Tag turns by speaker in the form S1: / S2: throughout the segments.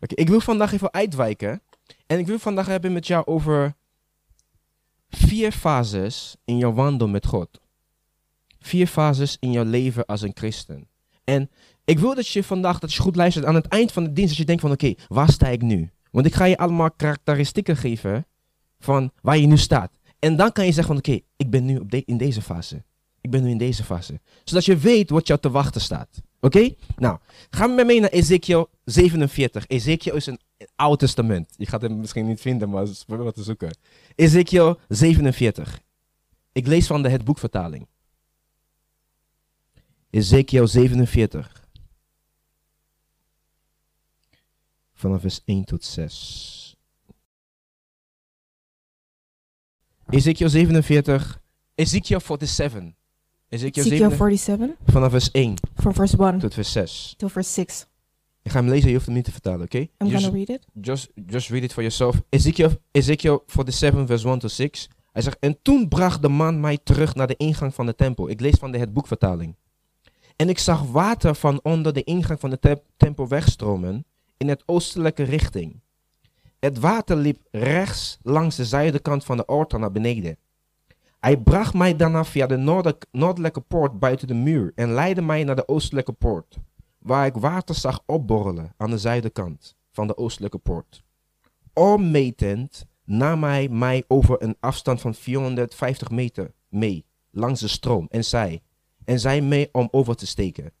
S1: ik wil vandaag even uitwijken. En ik wil vandaag hebben met jou over vier fases in jouw wandel met God. Vier fases in jouw leven als een christen. En ik wil dat je vandaag dat je goed luistert aan het eind van de dienst. Dat je denkt van oké, waar sta ik nu? Want ik ga je allemaal karakteristieken geven van waar je nu staat. En dan kan je zeggen van oké, ik ben nu op de- in deze fase. Ik ben nu in deze fase. Zodat je weet wat jou te wachten staat. Oké? Nou, ga met mij mee naar Ezekiel 47. Ezekiel is een oud testament. Je gaat hem misschien niet vinden, maar probeer wat te zoeken. Ezekiel 47. Ik lees van de het boekvertaling. Ezekiel 47. Vanaf vers 1 tot 6. Ezekiel 47. Ezekiel 47. Ezekiel
S2: Ezekiel
S1: 47.
S2: 47
S1: Vanaf vers 1
S2: from verse 1
S1: tot vers 6.
S2: till verse 6.
S1: Ik ga hem lezen, je hoeft hem niet te vertalen, oké?
S2: I'm
S1: Just-
S2: gonna read it.
S1: just, just read it for yourself. Ezekiel, Ezekiel 47, vers 1 tot 6. Hij zegt, en toen bracht de man mij terug naar de ingang van de tempel. Ik lees van de het boekvertaling. En ik zag water van onder de ingang van de te- tempel wegstromen in het oostelijke richting. Het water liep rechts langs de zuidenkant van de altaar naar beneden. Hij bracht mij daarna via de noorder- noordelijke poort buiten de muur en leidde mij naar de oostelijke poort, waar ik water zag opborrelen aan de zuidenkant van de oostelijke poort. Onmetend nam hij mij over een afstand van 450 meter mee langs de stroom en zei, en zei mee om over te steken.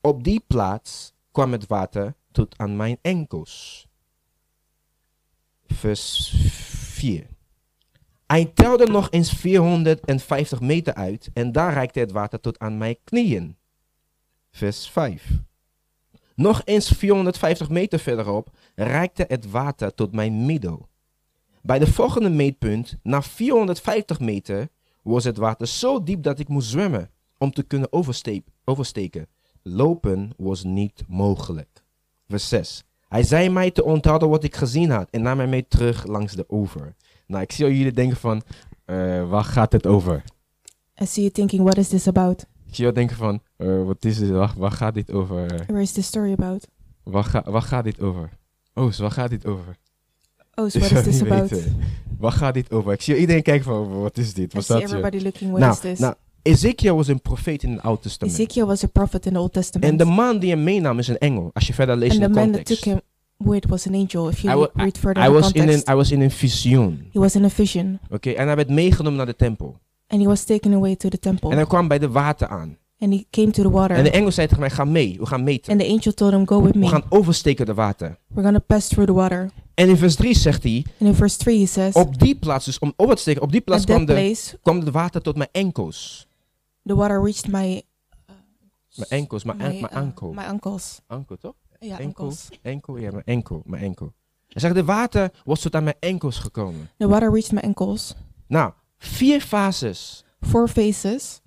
S1: Op die plaats kwam het water tot aan mijn enkels. Vers 4. Hij telde nog eens 450 meter uit en daar reikte het water tot aan mijn knieën. Vers 5. Nog eens 450 meter verderop reikte het water tot mijn middel. Bij de volgende meetpunt, na 450 meter, was het water zo diep dat ik moest zwemmen om te kunnen oversteep- oversteken. Lopen was niet mogelijk. Vers 6. Hij zei mij te onthouden wat ik gezien had en nam mij mee terug langs de over. Nou, ik zie al jullie denken van, eh, waar gaat het over?
S2: I see you thinking, what is this about?
S1: Ik zie jou denken van, eh, wat is dit, waar, waar gaat dit over?
S2: Where is this story about?
S1: Waar, ga- waar gaat dit over? Oos, waar gaat dit over?
S2: Oh, so
S1: Ik
S2: what
S1: zou
S2: is this
S1: niet
S2: about?
S1: weten. Waar gaat dit over? Ik zie iedereen kijken van, wat is dit?
S2: I
S1: Wat
S2: see
S1: staat hier?
S2: everybody looking, what is
S1: Nou,
S2: this?
S1: nou, Ezekiel was een profeet in het Oude Testament.
S2: Ezekiel was a prophet in the Old
S1: En
S2: Testament.
S1: de man die hem meenam is een engel. Als je verder leest
S2: and the
S1: in de
S2: man that took
S1: context.
S2: him with was an angel. If you
S1: Hij
S2: look-
S1: wa-
S2: read further
S1: Hij
S2: in the
S1: was in een,
S2: context,
S1: hij was in een visioen.
S2: he was in a vision
S1: Oké, en hij werd meegenomen naar de tempel.
S2: and he was taken away to the temple.
S1: En hij kwam bij de water aan.
S2: and he came to the water.
S1: En de engel zei tegen mij, ga mee, we gaan meten.
S2: and the angel told him, Go with
S1: We
S2: me.
S1: gaan oversteken de water.
S2: We're gonna pass through the water.
S1: En in vers 3 zegt hij,
S2: And in verse 3, he says,
S1: op die plaats, dus om over te steken, op die plaats
S2: At
S1: kwam,
S2: that
S1: de,
S2: place,
S1: kwam het water tot mijn enkels.
S2: the water reached my
S1: Mijn enkels, mijn, an-
S2: my,
S1: mijn
S2: uh,
S1: ankel.
S2: my ankles.
S1: Ankel, toch?
S2: Yeah,
S1: enkel,
S2: ankles.
S1: enkel, ja, mijn enkel, mijn enkel. Hij zegt, de water was tot aan mijn enkels gekomen.
S2: The water reached my ankles.
S1: Nou, vier fases
S2: Four phases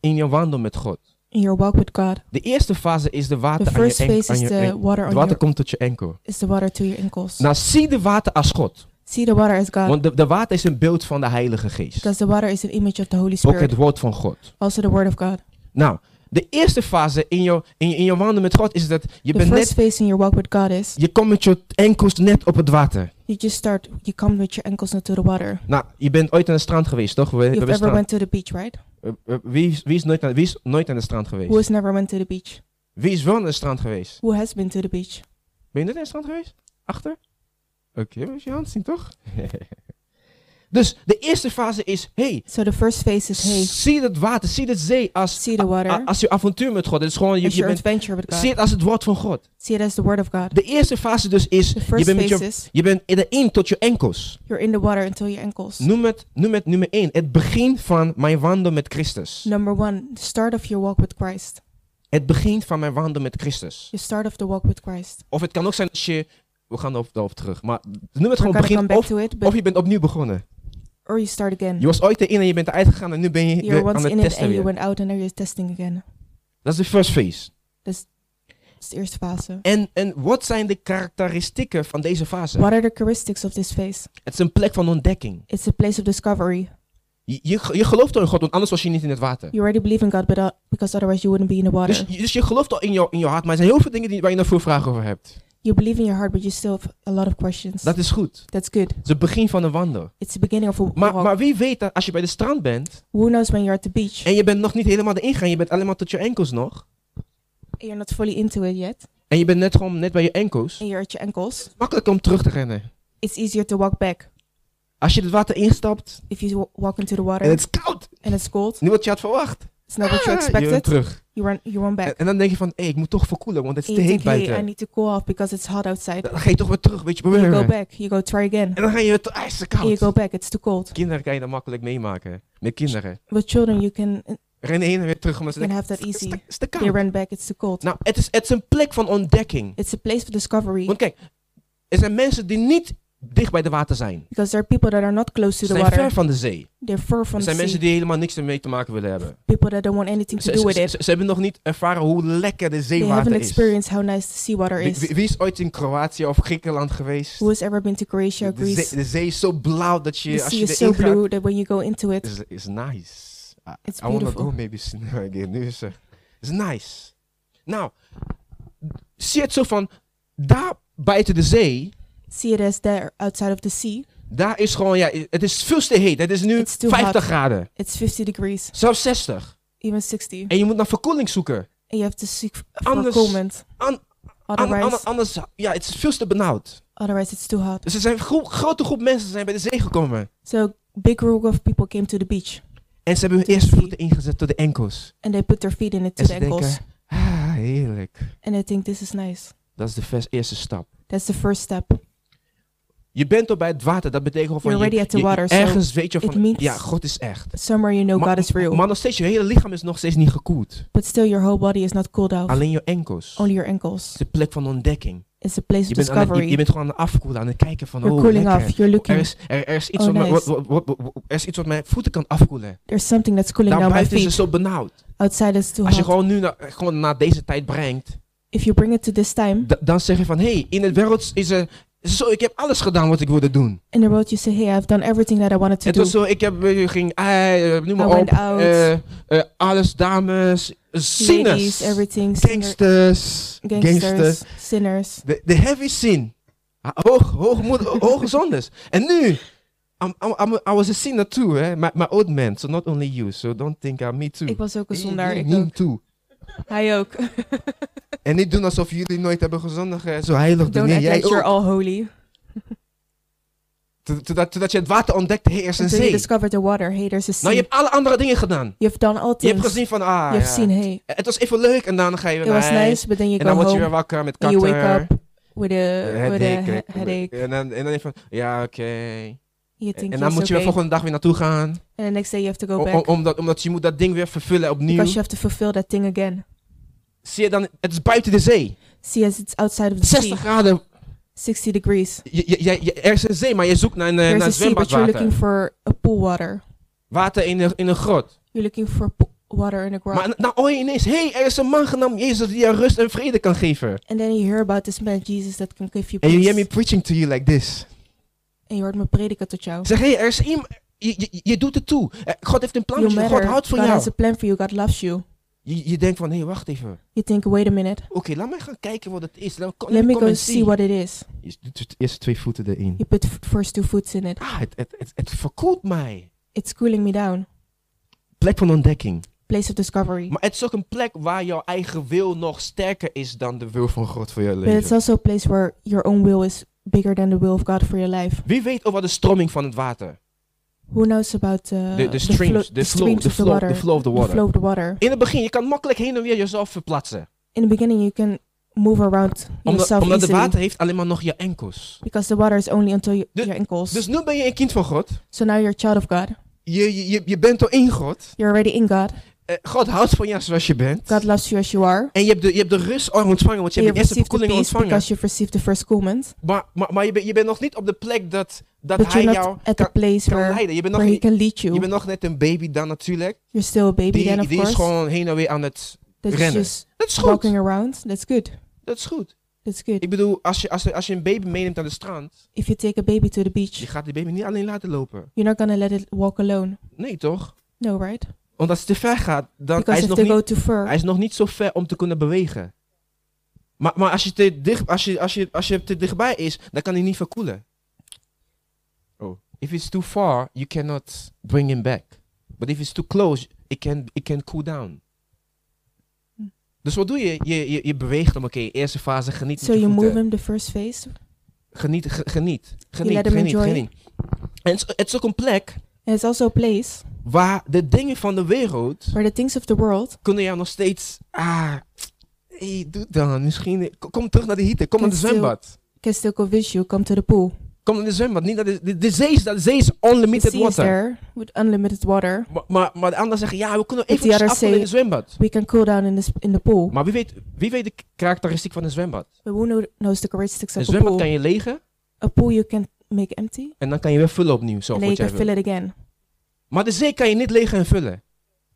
S1: in je wandel met God.
S2: in your walk with God.
S1: De eerste fase is de
S2: The
S1: water aan je
S2: first
S1: enkel.
S2: phase
S1: aan
S2: is
S1: je
S2: the
S1: enkel.
S2: water
S1: Het
S2: on
S1: water
S2: your
S1: komt tot je enkel.
S2: is the water to your ankles.
S1: Nou, zie de water als God.
S2: See the water as God
S1: Want de, de water is een beeld van de Heilige Geest.
S2: because the water is an image of the Holy
S1: Ook
S2: Spirit,
S1: het woord van God.
S2: also the word of God.
S1: Nou, de eerste fase in je, in, je- in je wandel met God is dat je
S2: The
S1: bent
S2: first
S1: net...
S2: phase in your walk with God is
S1: Je komt met je enkels net op het water.
S2: you just start you come with your ankles into the water.
S1: Nou, je bent ooit aan het strand geweest, toch? We, we
S2: You've
S1: hebben
S2: ever
S1: strand.
S2: went to the beach, right?
S1: Eh, eh, wie, is, wie, is nooit aan, wie is nooit aan het strand geweest?
S2: Who has never went to the beach?
S1: Wie is wel aan het strand geweest?
S2: Who has been to the beach?
S1: Ben je net aan het strand geweest? Achter? Oké, moet je je hand zien, toch? dus de eerste fase is, hey,
S2: So the first phase is hey,
S1: zie dat water, zie dat zee als,
S2: see the water
S1: a- als je avontuur met God. Het is gewoon, je,
S2: as
S1: je
S2: your
S1: bent,
S2: adventure with
S1: zie
S2: God.
S1: het als het woord van God.
S2: See it as the word of God.
S1: De eerste fase dus is,
S2: The
S1: je
S2: first
S1: bent, met
S2: phase
S1: je,
S2: is
S1: je bent erin tot je enkels.
S2: you're in the water until your ankles.
S1: Noem het, noem het nummer één, het begin van mijn wandel met Christus.
S2: Number one, the start of your walk with Christ.
S1: Het begin van mijn wandel met Christus.
S2: You start off the walk with Christ.
S1: Of het kan ook zijn als je, we gaan daarop daarop terug, maar noem het gewoon
S2: We're gonna come
S1: begin
S2: back
S1: of,
S2: to it, but
S1: of je bent opnieuw begonnen.
S2: or you start again.
S1: Je was ooit erin en je bent eruit gegaan en nu ben je
S2: You're
S1: weer
S2: once
S1: aan
S2: in
S1: het
S2: it
S1: testen
S2: and you
S1: weer.
S2: went out and now you're testing again.
S1: Dat is de first phase.
S2: It's the eerste fase.
S1: En, en wat zijn de karakteristieken van deze fase?
S2: What are the characteristics of this phase?
S1: Het is een plek van ontdekking.
S2: It's a place of discovery.
S1: Je, je, je gelooft al in God, want anders was je niet in het water.
S2: You already believe in God, but uh, because otherwise you wouldn't be in the water.
S1: Dus, dus je gelooft al in jouw in jou hart, maar er zijn heel veel dingen die, waar je nog veel vragen over hebt.
S2: You believe in your heart, but you still have a lot of questions.
S1: Dat is goed.
S2: That's good.
S1: Het is het begin van een wandel.
S2: It's the beginning of a
S1: Maar,
S2: walk.
S1: maar wie weet dat als je bij de strand bent
S2: Who knows when you're at the beach
S1: en je bent nog niet helemaal erin gegaan, je bent alleen maar tot je enkels nog.
S2: and you're not fully into it yet,
S1: En je bent net gewoon net bij je enkels.
S2: and you're at your ankles.
S1: Makkelijk om terug te rennen.
S2: It's easier to walk back
S1: Als je het water instapt
S2: if you wa- walk into the
S1: en
S2: water
S1: het is koud,
S2: and it's cold.
S1: niet wat je had verwacht.
S2: It's not what you
S1: Ah, je bent
S2: expected.
S1: terug.
S2: You run, you run
S1: En,
S2: back.
S1: en dan denk je van, hé, ik moet toch verkoelen, want het is
S2: And
S1: te
S2: you
S1: heet
S2: think, hey, I
S1: buiten.
S2: need to cool off because it's hot outside.
S1: Dan ga je toch weer terug, weet je.
S2: You go
S1: En
S2: back. You go try again.
S1: dan ga je weer terug, ah, het is
S2: And you go
S1: koud.
S2: back. It's too cold.
S1: Kinderen kan je dat makkelijk meemaken. Met kinderen.
S2: With children, you can
S1: Rennen heen en weer terug, omdat ze
S2: you
S1: denken,
S2: can have that
S1: het is
S2: easy.
S1: te- het is te
S2: They
S1: koud.
S2: ran back. It's too cold.
S1: Nou, het is, het is een plek van ontdekking.
S2: It's a place for discovery
S1: Want kijk, er zijn mensen die niet dicht bij de water zijn.
S2: because there are people that are not close to
S1: Ze
S2: the
S1: zijn ver
S2: water.
S1: van de zee.
S2: They're far
S1: Er
S2: from the
S1: zijn mensen
S2: sea.
S1: die helemaal niks ermee te maken willen hebben.
S2: People that don't want anything
S1: Ze,
S2: to do with
S1: ze-
S2: it.
S1: ze- ze hebben nog niet ervaren hoe lekker de
S2: They
S1: zeewater
S2: haven't
S1: is.
S2: experienced how nice the seawater
S1: Wie,
S2: is.
S1: wie- wie is ooit in Kroatië of Griekenland geweest?
S2: Who has ever been to Croatia or
S1: De
S2: Greece?
S1: zee, de zee is zo blauw dat
S2: The
S1: je, als
S2: sea
S1: je
S2: is so
S1: erin gaat...
S2: blue that when you go into it,
S1: Is, is nice. I,
S2: It's
S1: I wanna
S2: beautiful.
S1: go maybe soon again. Nu is er- is nice. Nou, zie het zo van... Daar buiten de zee,
S2: see it as there outside of the sea.
S1: daar is gewoon... Ja, het is veel te heet. Het is nu
S2: It's too
S1: 50
S2: hot.
S1: graden.
S2: It's 50 degrees,
S1: Zelfs 60.
S2: even 60. And
S1: En je moet naar verkoeling zoeken.
S2: you have to seek for
S1: Anders-
S2: comment.
S1: an- An-
S2: Otherwise,
S1: an- anders, ja, het is veel te benauwd.
S2: otherwise it's too hot.
S1: Dus er zijn een gro- grote groep mensen zijn bij de zee gekomen.
S2: So big group of people came to the beach
S1: En ze hebben hun
S2: To
S1: eerste
S2: see.
S1: voeten ingezet tot de enkels.
S2: and they put their feet in it to
S1: En
S2: the
S1: ze
S2: ankles.
S1: denken, ah, heerlijk.
S2: And I think this is nice.
S1: Dat is de vers- eerste stap.
S2: That's the first step.
S1: Je bent al bij het water. Dat betekent gewoon
S2: You're
S1: van, je,
S2: already at the
S1: je- je-
S2: water, so
S1: ergens weet je
S2: it
S1: van,
S2: means-
S1: ja, God is echt.
S2: Somewhere you know
S1: Ma-
S2: God is real,
S1: Maar nog steeds, je hele lichaam is nog steeds niet gekoeld.
S2: but still your whole body is not cooled off.
S1: Alleen je enkels. Het
S2: Only your ankles.
S1: is een plek van ontdekking.
S2: It's a place
S1: Je
S2: of
S1: bent, aan het- je,
S2: discovery.
S1: je bent gewoon aan het afkoelen, aan het kijken van,
S2: You're
S1: oh,
S2: cooling
S1: lekker.
S2: off. You're
S1: Er
S2: looking.
S1: is, er, er is iets
S2: Oh,
S1: wat, mijn-
S2: nice.
S1: wat- wat- wat- wat- er is iets wat mijn voeten kan afkoelen.
S2: There's something that's cooling down my
S1: Daarbuiten is het dus
S2: feet.
S1: zo benauwd.
S2: Outside it's too
S1: Als je
S2: hot.
S1: gewoon nu naar, gewoon naar deze tijd brengt,
S2: If you bring it to this time,
S1: da- dan zeg je van, hé, hey, in het wereld is er... is Zo, ik heb alles gedaan wat ik wilde doen.
S2: in the road you say, hey, I've done everything that I wanted to
S1: het
S2: do.
S1: was zo, ik heb, eh, ging, eh, eh, noem
S2: I
S1: maar op.
S2: went out.
S1: eh, eh, alles, dames,
S2: Ladies,
S1: zinners,
S2: everything. singer-
S1: gangsters,
S2: gangsters,
S1: gangsters.
S2: sinners.
S1: De, de heavy sin. Ha- Hoog, hoogmoed, hoge zondes. En nu, I'm, I'm, I'm, I was a sinner too, hè. My, my old man, so not only you. So don't think I'm me too.
S2: Ik was ook een zondaar.
S1: Ik
S2: Ik
S1: him
S2: ook.
S1: too.
S2: Hij ook.
S1: En niet doen alsof jullie nooit hebben gezondigd. hè. Zo heilig doen.
S2: Don't
S1: Nee,
S2: act
S1: jij
S2: like you're
S1: ook.
S2: all holy.
S1: Toen- Totdat totdat je het water ontdekte, hey, er is een
S2: Until you
S1: zee.
S2: discovered the water. Hey, there's a sea.
S1: Nou, je hebt alle andere dingen gedaan.
S2: You've done all
S1: Je
S2: things.
S1: hebt gezien van, ah,
S2: You have
S1: ja.
S2: seen, hey,
S1: Het was even leuk en dan ga je
S2: it
S1: weer
S2: was
S1: naar huis.
S2: nice, but then you
S1: En
S2: go
S1: dan word je weer
S2: home
S1: wakker met
S2: and
S1: kater.
S2: you wake up with a, with a
S1: headache.
S2: he- headache.
S1: En dan, en dan denk je van, ja, oké.
S2: You Oh,
S1: En
S2: think
S1: dan
S2: yes,
S1: moet je weer
S2: okay.
S1: volgende dag weer naartoe gaan.
S2: And the next day you have to
S1: O-
S2: go
S1: o-
S2: back.
S1: omdat, omdat je moet dat ding weer vervullen opnieuw.
S2: Because you have to fulfill that thing again.
S1: Zie je dan, het is buiten de zee.
S2: See, as it's outside of the
S1: 60
S2: sea,
S1: graden.
S2: 60 degrees.
S1: Je, je, je- je- er is een zee, maar je zoekt naar een, eh,
S2: There's
S1: naar
S2: a
S1: een
S2: sea, but
S1: zwembad
S2: you're
S1: water.
S2: looking for a pool water.
S1: Water in een, in een grot.
S2: You're looking for po- water in a ground.
S1: Maar nou hoor je ineens, hé, hey, er is een man genaamd Jezus die jou rust en vrede kan geven.
S2: And then you hear about this man Jesus that can give you
S1: En
S2: peace.
S1: you hear me preaching to you like this.
S2: En je hoort me prediken tot jou.
S1: Zeg, hé, hey, er is iemand... Je, je, je doet het toe. Eh, God heeft een plan
S2: You
S1: voor je. God
S2: matter.
S1: houdt van
S2: God has a
S1: jou.
S2: plan for you. God loves you.
S1: Je, je denkt van, hé, hey, wacht even. Oké,
S2: You think, wait a minute.
S1: laat mij gaan kijken wat het is. Dan, kom-
S2: Let me
S1: kom
S2: go
S1: en
S2: see
S1: zie.
S2: what it is.
S1: Je doet het eerst twee voeten erin.
S2: You put f- first two foots in it.
S1: Ah, het, het, het, het verkoelt mij.
S2: It's cooling me down.
S1: Plek van ontdekking.
S2: Place of discovery.
S1: Maar het is ook een plek waar jouw eigen wil nog sterker is dan de wil van God voor jouw
S2: But it's
S1: leven.
S2: also a place where your own will is bigger than the will of God for your life.
S1: Wie weet over de stroming van het water?
S2: Who knows about uh,
S1: De, de
S2: flo-
S1: streams, de flow,
S2: streams
S1: de
S2: of the
S1: flow,
S2: water?
S1: de flow of the
S2: The
S1: water.
S2: flow of the water.
S1: In het begin, je kan makkelijk heen en weer jezelf verplaatsen.
S2: In the beginning, you can move around
S1: Omdat,
S2: yourself
S1: omdat het
S2: easily.
S1: water heeft alleen maar nog je enkels.
S2: Because the water is only until you,
S1: Dus-
S2: your ankles.
S1: Dus nu ben je een kind van God.
S2: so now you're a child of God.
S1: Je, je- je, je bent al in God.
S2: You're already in God.
S1: Eh, God houdt van jou zoals je bent.
S2: God loves you as you are.
S1: En je hebt de, je hebt de rust al ontvangen, want je hebt de eerste
S2: you've received the
S1: verkoeling al
S2: peace
S1: ontvangen.
S2: because you've received the first comment.
S1: Maar, maar, maar je, bent, je bent nog niet op de plek dat, dat
S2: But
S1: hij
S2: you're
S1: jou
S2: not at the
S1: kan,
S2: place
S1: kan
S2: where,
S1: leiden. Je bent, nog,
S2: where
S1: je,
S2: he can lead you.
S1: bent nog net een baby dan natuurlijk.
S2: You're still a baby then,
S1: Die,
S2: of
S1: die is
S2: course.
S1: gewoon heen en weer aan het...
S2: That's
S1: rennen.
S2: just
S1: Dat is goed.
S2: walking around. That's good.
S1: Dat is goed.
S2: That's good.
S1: Ik bedoel, als je, als, je- als je een baby meeneemt aan de strand,
S2: If you take a baby to the
S1: je
S2: beach,
S1: gaat die baby niet alleen laten lopen.
S2: you're not gonna let it walk alone.
S1: Nee, toch?
S2: No, right?
S1: Want als het te ver gaat, dan hij
S2: Because
S1: is,
S2: if
S1: nog
S2: they go
S1: niet,
S2: too
S1: hij
S2: far,
S1: is nog niet zo ver om te kunnen bewegen. Maar, maar als, je te dicht, als, je, als, je, als je te dichtbij is, dan kan hij niet verkoelen. Oh. If it's too far, you cannot bring him back. But if it's too close, it can, it can cool down.
S2: Hm.
S1: Dus wat doe je? Je, je, je beweegt hem, oké, eerste fase, geniet
S2: So
S1: met je
S2: you
S1: voeten.
S2: move him the first phase. And
S1: Geniet, ge- geniet, geniet,
S2: let him
S1: geniet,
S2: enjoy.
S1: geniet. En het is- het is ook een plek
S2: it's also a place
S1: waar de dingen van de wereld
S2: where the things of the world
S1: kunnen jou nog steeds. Ah, hey, doe dan. Misschien. Kom, kom terug naar de hitte. Kom naar
S2: Kan
S1: de
S2: stil.
S1: zwembad.
S2: can still convince you come to the pool.
S1: Kom naar de zwembad. Niet naar de, de, de zee. is- De zee is unlimited
S2: the sea is
S1: water.
S2: there with unlimited water.
S1: Maar, maar, maar de anderen zeggen: ja, we kunnen
S2: It's the
S1: even
S2: other
S1: afkoelen in
S2: sea.
S1: de zwembad.
S2: We can cool down in the s- in the pool.
S1: Maar wie weet, wie weet de k- karakteristiek van een zwembad?
S2: But who know, knows the characteristics
S1: Een
S2: of a pool?
S1: zwembad kan je legen
S2: A pool you can make empty
S1: en dan kan je weer vullen opnieuw. Zo,
S2: and then you
S1: goed jij
S2: can fill
S1: wil.
S2: it again.
S1: Maar de zee kan je niet legen en vullen.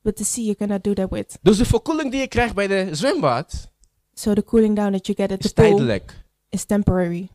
S2: But the sea you cannot do that with.
S1: Dus de verkoeling die je krijgt bij de zwembad
S2: So the cooling down that you get at the
S1: is
S2: pool
S1: tijdelijk.
S2: is temporary.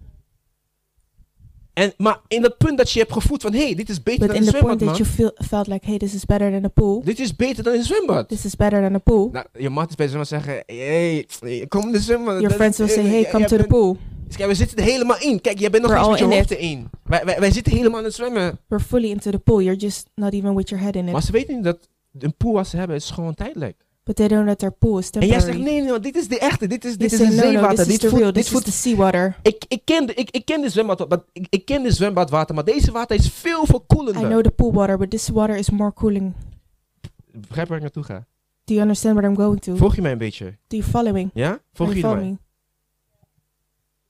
S1: En, maar in dat punt dat je hebt gevoeld van, hé, hey, dit is beter
S2: But
S1: dan
S2: in
S1: een
S2: the point
S1: zwembad, man.
S2: that you feel, felt like, hey, this is better than a pool.
S1: Dit is beter dan een zwembad.
S2: This is better than a pool.
S1: Nou, je mag dus bij zomaar zeggen, hey, kom de zwembad.
S2: Your
S1: Dat-
S2: friends will say,
S1: eh,
S2: hey,
S1: jij-
S2: come
S1: jij
S2: to the
S1: bent-
S2: pool.
S1: Kijk, we zitten er helemaal in. Kijk, jij bent nog
S2: We're
S1: eens
S2: all
S1: met je
S2: in
S1: hoofd erin. Wij, wij, wij zitten helemaal aan het zwemmen.
S2: We're fully into the pool. You're just not even with your head in
S1: Maar
S2: it.
S1: ze weten niet dat een pool wat ze hebben, is gewoon tijdelijk.
S2: But they don't know that their pool is
S1: En jij
S2: temporary.
S1: zegt, nee, nee, dit is de echte. Dit is,
S2: You
S1: dit is
S2: say,
S1: een
S2: no, no,
S1: zeewater.
S2: this is
S1: Dit
S2: the
S1: voelt,
S2: real.
S1: dit
S2: This is
S1: voelt...
S2: the seawater.
S1: Ik, ik, ken de, ik, ik ken de zwembad, maar ik, ik ken de zwembadwater, maar deze water is veel
S2: I
S1: verkoelender.
S2: know the pool water, but this water is more cooling.
S1: Begrijp waar ik naartoe ga?
S2: Do you understand what I'm going to?
S1: Volg je mij een beetje?
S2: Do you follow me?
S1: Ja?
S2: Are
S1: Volg
S2: you
S1: je mij?
S2: following?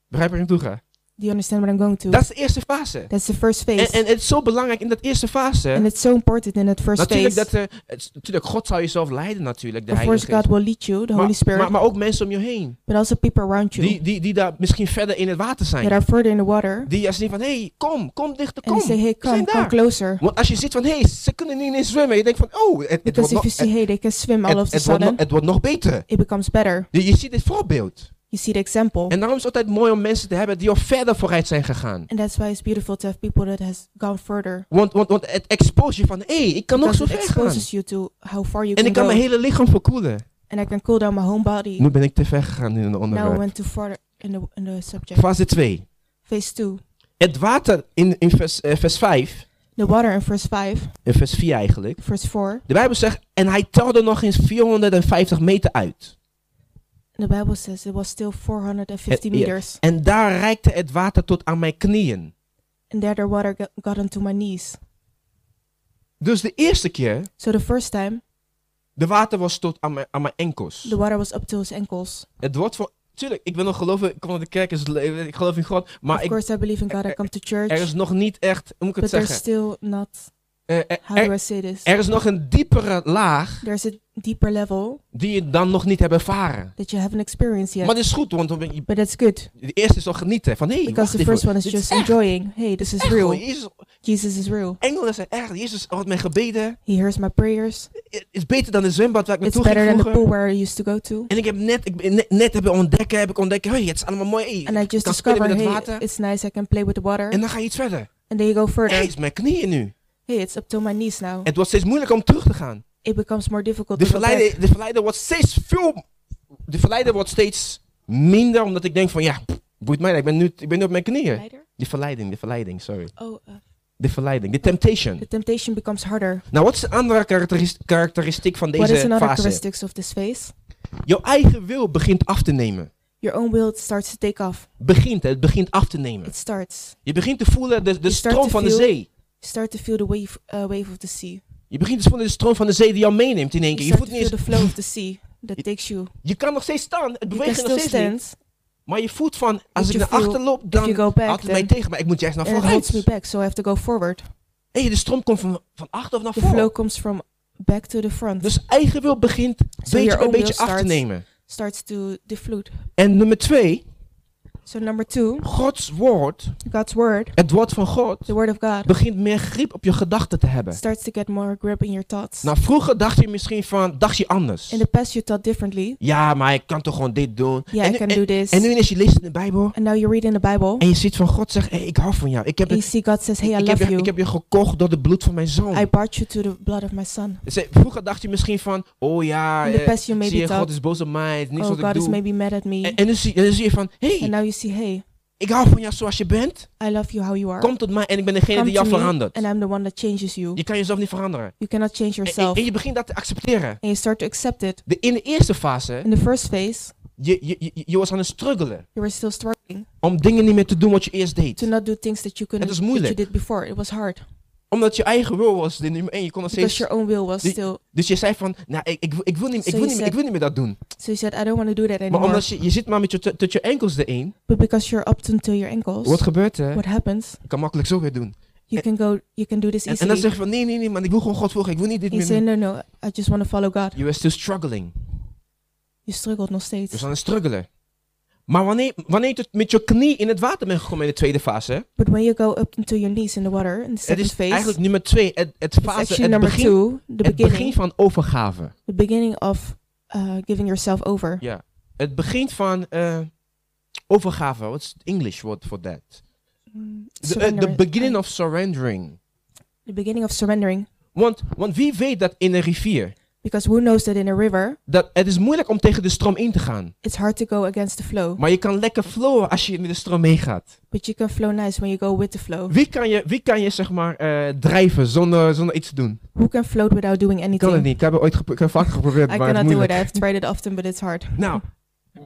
S1: Begrijp waar ik naartoe ga?
S2: Do you understand what I'm going to?
S1: Dat is de eerste fase.
S2: That's the first phase.
S1: En, en het is zo belangrijk in dat eerste fase.
S2: And it's so important in that first
S1: Natuurlijk,
S2: phase.
S1: dat, eh, het- natuurlijk, God zal jezelf leiden natuurlijk, de
S2: Of course,
S1: Heilige Geest.
S2: God will lead you, the
S1: maar,
S2: Holy Spirit,
S1: Maar, maar ook mensen om je heen.
S2: but also people around you
S1: Die, die, die daar misschien verder in het water zijn.
S2: that are further in the water.
S1: Die juist zien van, hé, hey, kom, kom dichter,
S2: And
S1: kom.
S2: they say, hey,
S1: We zijn
S2: come, come
S1: daar.
S2: closer.
S1: Want als je ziet van, hé, hey, ze kunnen niet eens zwemmen. Je denkt van, oh, het, het, wordt,
S2: Because if
S1: nog,
S2: you
S1: het,
S2: see, hey, they can swim all
S1: het-
S2: of a
S1: het wordt, nog,
S2: sudden,
S1: het wordt nog beter.
S2: it becomes better.
S1: Je, je ziet dit voorbeeld.
S2: You see the example.
S1: En daarom is het altijd mooi om mensen te hebben die al verder vooruit zijn gegaan.
S2: And that's why it's beautiful to have people that has gone further.
S1: Want, want, want het expose je van, hé, hey, ik kan nog
S2: Because
S1: zo
S2: it
S1: ver gaan.
S2: exposes you to how far you
S1: En
S2: can
S1: ik kan
S2: go.
S1: mijn hele lichaam verkoelen.
S2: And I can cool down my whole body.
S1: Nu ben ik te ver gegaan in een
S2: Now I
S1: onderwerp.
S2: went too far in the, in the subject.
S1: Fase 2.
S2: Phase 2.
S1: Het water in, in vers, eh, vers 5,
S2: The water in verse 5,
S1: in vers 4 eigenlijk.
S2: verse 4.
S1: De Bijbel zegt, en hij telde nog eens 450 meter uit.
S2: The Bible says it was still 450
S1: Eh, yeah.
S2: meters.
S1: En daar reikte het water tot aan mijn knieën.
S2: And there the water got, got onto my knees.
S1: Dus de eerste keer,
S2: So the first time,
S1: de water was tot aan mijn, aan mijn enkels.
S2: the water was up to his ankles.
S1: Het wordt voor... Tuurlijk, ik ben nog geloven, ik kom naar de kerk, is le- ik geloof in God. Maar
S2: of
S1: Ah, ik,
S2: course, I believe in God. I come to church.
S1: er is nog niet echt, hoe moet ik het
S2: but
S1: zeggen?
S2: there's still not,
S1: Eh, eh,
S2: how do
S1: er,
S2: I say this?
S1: er is nog een diepere laag
S2: there's a deeper level
S1: die je dan nog niet hebt ervaren.
S2: that you haven't experienced yet.
S1: Maar dat is goed, want dan ben je-
S2: but that's good.
S1: de eerste is al genieten. Van, hé, hey,
S2: Because
S1: wacht
S2: the
S1: even,
S2: first one is
S1: dit is
S2: just
S1: echt.
S2: enjoying. Hey, this is
S1: Echt,
S2: real.
S1: hoor, Jezus,
S2: Jesus is real.
S1: Engelen zijn echt. Jezus had mijn gebeden.
S2: He hears my prayers.
S1: Het is beter dan de zwembad waar ik
S2: It's
S1: naartoe ging
S2: better than the
S1: vroeger.
S2: pool where I used to go to.
S1: En ik heb net, ik ben net, net hebben ontdekken, heb ik ontdekt, hey, het is allemaal mooi. Hey,
S2: And I
S1: ik
S2: just
S1: kan spelen met
S2: discovered,
S1: het
S2: hey,
S1: water.
S2: it's nice. I can play with the water.
S1: En dan ga je iets verder.
S2: And then you go
S1: Hé,
S2: further.
S1: het is mijn knieën nu.
S2: Hey, it's up to my knees now.
S1: Het wordt steeds moeilijker om terug te gaan.
S2: It becomes more difficult
S1: De
S2: to go back.
S1: verleider, de verleider wordt steeds veel, de verleider wordt steeds minder, omdat ik denk van, ja, pff, boeit mij, niet, ik ben nu, ik ben nu op mijn knieën.
S2: Verleider?
S1: De verleiding, de verleiding, sorry.
S2: Oh, uh,
S1: De verleiding, de temptation.
S2: the temptation becomes harder.
S1: Nou, wat is een andere karakteris- karakteristiek van
S2: what is
S1: deze
S2: another
S1: fase?
S2: characteristics of this phase?
S1: Jouw eigen wil begint af te nemen.
S2: Your own will starts to take off.
S1: begint, hè, het begint af te nemen.
S2: It starts.
S1: Je begint te voelen de, de
S2: Je start
S1: stroom
S2: te
S1: van de
S2: feel-
S1: zee.
S2: You start to feel the wave, uh, wave of the sea.
S1: Je begint te voelen de stroom van de zee die jou meeneemt in één
S2: You
S1: keer. Je,
S2: start to
S1: voelt niet
S2: feel the
S1: eens,
S2: flow of the sea that
S1: Je-
S2: takes you.
S1: je kan nog steeds staan, het
S2: You can
S1: beweegt je nog
S2: still
S1: steeds niet.
S2: stand.
S1: Maar je voelt van, als
S2: But
S1: ik
S2: you
S1: naar
S2: feel,
S1: achter loop,
S2: If you
S1: dan
S2: go back,
S1: houdt het mij
S2: then
S1: tegen. Maar ik moet juist naar
S2: and it holds me
S1: vooruit.
S2: back, so I have to go forward.
S1: Hé, de stroom komt van, van achter of naar
S2: The flow
S1: voren.
S2: comes from back to the front.
S1: Dus eigen wil begint
S2: So
S1: beetje
S2: your
S1: bij
S2: own
S1: beetje
S2: will
S1: af te
S2: starts-
S1: nemen.
S2: starts to deflute.
S1: En nummer twee,
S2: So number two,
S1: Gods woord,
S2: God's word,
S1: het woord van God,
S2: the word of God,
S1: begint meer grip op je gedachten te hebben.
S2: starts to get more grip in your thoughts.
S1: Nou, vroeger dacht je misschien van, dacht je anders.
S2: In the past, you thought differently.
S1: Ja, maar ik kan toch gewoon dit doen.
S2: Yeah,
S1: en,
S2: I
S1: nu,
S2: can
S1: en,
S2: do this.
S1: en nu ineens je leest in de Bijbel
S2: and now you're reading the Bible,
S1: en je ziet van God zegt, hey, ik hou van jou. Ik heb,
S2: and you
S1: het,
S2: see God says, "Hey, I
S1: ik, heb
S2: love
S1: je,
S2: you.
S1: ik heb je gekocht door de bloed van mijn
S2: I
S1: zoon.
S2: bought you to the blood of my son."
S1: Ze- Vroeger dacht je misschien van, oh ja,
S2: In the
S1: eh,
S2: past, you
S1: zie
S2: maybe
S1: je, God
S2: thought,
S1: is boos op mij, het is niks
S2: "Oh,
S1: wat ik
S2: God is
S1: doe.
S2: maybe mad at me,"
S1: En, en, dan zie, en dan zie je van, hey,
S2: and now you see, "Hey,
S1: ik hou van jou zoals je bent.
S2: I love you how you are."
S1: Kom tot mij en ik ben degene
S2: Come
S1: die
S2: to
S1: jou
S2: me,
S1: verandert.
S2: and I'm the one that changes you.
S1: Je kan jezelf niet veranderen.
S2: You cannot change
S1: En, en-
S2: yourself,
S1: en je begint dat te accepteren.
S2: and you start to accept it.
S1: De, in de eerste fase,
S2: In the first phase,
S1: je, je, je, je was aan het struggelen.
S2: you were still struggling
S1: Om dingen niet meer te doen wat je eerst deed.
S2: to not do things that you couldn't,
S1: is
S2: that you
S1: moeilijk.
S2: did before. It was hard
S1: Omdat je eigen wil was de nummer één. Je kon nog
S2: because
S1: steeds...
S2: your own will was
S1: Die-
S2: still.
S1: Dus je zei van, nou, ik, ik, ik, wil, niet, ik,
S2: So
S1: wil, niet,
S2: you
S1: meer-
S2: said-
S1: ik wil niet meer dat doen.
S2: So you said, "I don't want to do that
S1: Maar
S2: anymore."
S1: omdat je, je zit maar met je, tot je enkels erin.
S2: but because you're up until your ankles,
S1: Wat gebeurt er?
S2: what happens?
S1: Ik kan makkelijk zo weer doen.
S2: You
S1: En-
S2: can go. You can do this
S1: En, en dan
S2: easily.
S1: zeg je van, nee, nee, nee, man, ik wil gewoon God volgen. Ik wil niet dit
S2: You
S1: meer.
S2: say,
S1: doen.
S2: "No, no, I just want to follow God."
S1: Je was still struggling.
S2: Je struggelt nog steeds.
S1: Dus aan het struggelen. Maar wanneer, wanneer je tot met je knie in het water bent gekomen in de tweede fase,
S2: But when you go up into your knees in the water, in the
S1: het
S2: second
S1: is
S2: phase,
S1: eigenlijk nummer twee, het, het
S2: it's
S1: fase,
S2: actually
S1: het
S2: number
S1: begin,
S2: two, the
S1: het begin
S2: beginning,
S1: van overgave.
S2: the beginning of uh, giving yourself over.
S1: Ja. Het begin van eh, overgave. What's the English word for that?
S2: Mm,
S1: The, eh,
S2: surrender.
S1: the beginning of surrendering.
S2: the beginning of surrendering.
S1: Want, want wie weet dat in een rivier,
S2: Because who knows that in a river,
S1: dat het is moeilijk om tegen de stroom in te gaan.
S2: it's hard to go against the flow,
S1: Maar je kan lekker flowen als je met de stroom meegaat.
S2: but you can flow nice when you go with the flow.
S1: Wie kan je, wie kan je zeg maar, eh, drijven zonder, zonder iets te doen?
S2: Who can float without doing
S1: Ik kan het
S2: anything?
S1: niet. Ik heb het ooit gepro- ik heb vaak geprobeerd,
S2: I
S1: maar het is
S2: cannot do it.
S1: moeilijk.
S2: I've tried it often, but it's hard.
S1: Nou,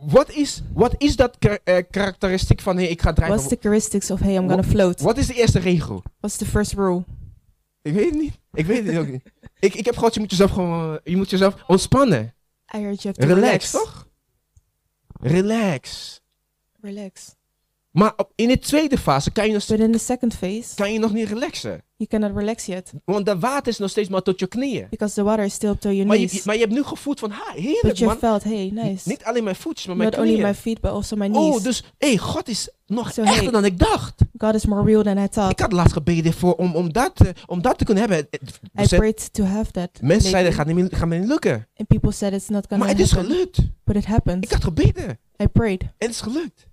S1: wat is, wat is dat ka- eh, karakteristiek van, hey, ik ga
S2: What's
S1: drijven?
S2: the characteristics of hey, I'm gonna float?
S1: Wat is de eerste regel?
S2: What's the first rule?
S1: Ik weet het niet. Ik weet het ook niet. Ik, ik heb gehoord, je moet jezelf gewoon, eh, je moet jezelf ontspannen.
S2: I heard you have to
S1: Relax,
S2: relax.
S1: toch? Relax.
S2: Relax.
S1: Maar op- in de tweede fase kan je, nog,
S2: But in the second phase,
S1: kan je nog niet relaxen.
S2: you cannot relax yet
S1: Want dat water is nog steeds maar tot je knieën.
S2: because the water is still up to your
S1: Maar je,
S2: knees.
S1: maar je hebt nu gevoeld van, ha,
S2: But
S1: heerlijk
S2: you
S1: man.
S2: felt, hey, nice.
S1: Niet alleen mijn voetjes, maar mijn
S2: Not only my
S1: knieën.
S2: feet, but also my
S1: Oh,
S2: knees.
S1: dus, hé, hey, God is nog
S2: Zo, Oh.
S1: echter
S2: hey.
S1: dan ik dacht.
S2: God is more real than I
S1: Ik
S2: thought.
S1: had laatst gebeden voor, om, om, dat, eh, om dat te kunnen hebben. Het- dus het-
S2: I
S1: ze-
S2: prayed to have that.
S1: mensen zeiden,
S2: lately,
S1: gaat, niet, meer- gaat me niet lukken.
S2: and people said it's not gonna
S1: Maar het is
S2: happen.
S1: gelukt.
S2: But it happened.
S1: Ik had gebeden.
S2: I prayed,
S1: En het is gelukt.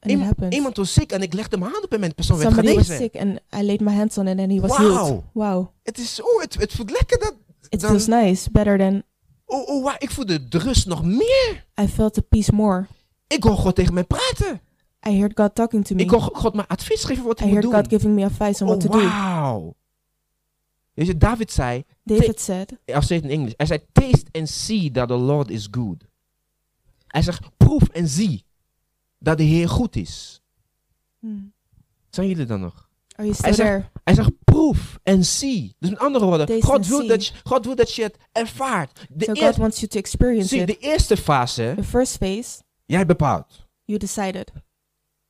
S2: and it happened.
S1: Iemand was ziek en ik legde mijn hand op hem en de persoon werd
S2: Somebody was
S1: genezen.
S2: sick, and I laid my hands on it, and he was healed.
S1: Wauw.
S2: Wow,
S1: Het is zo, het, het voelt lekker. Dat,
S2: it
S1: Dan-
S2: feels nice, better than
S1: oh, oh, wauw, ik voel de de rust nog meer.
S2: I felt the peace more.
S1: Ik hoor God tegen mij praten.
S2: I heard God talking to me.
S1: Ik hoor God mijn advies geven wat
S2: I
S1: ik moet
S2: heard
S1: doen.
S2: God giving me advice on what
S1: oh,
S2: to do.
S1: wauw. Weet je, David zei,
S2: David said,
S1: I'll say it in English. Hij zei, taste and see that the Lord is good. Hij zegt, proef en zie dat de Heer goed is.
S2: hmm,
S1: Zijn jullie dan nog?
S2: "Are you still
S1: zegt-
S2: there?"
S1: Hij zegt, proef en zie. Dus met andere woorden,
S2: Taste
S1: God
S2: and
S1: wil,
S2: see.
S1: dat je, God wil dat je het ervaart. De,
S2: So
S1: eer-
S2: God wants you to experience
S1: zie,
S2: it.
S1: de eerste fase,
S2: The first phase,
S1: jij bepaalt.
S2: you decided.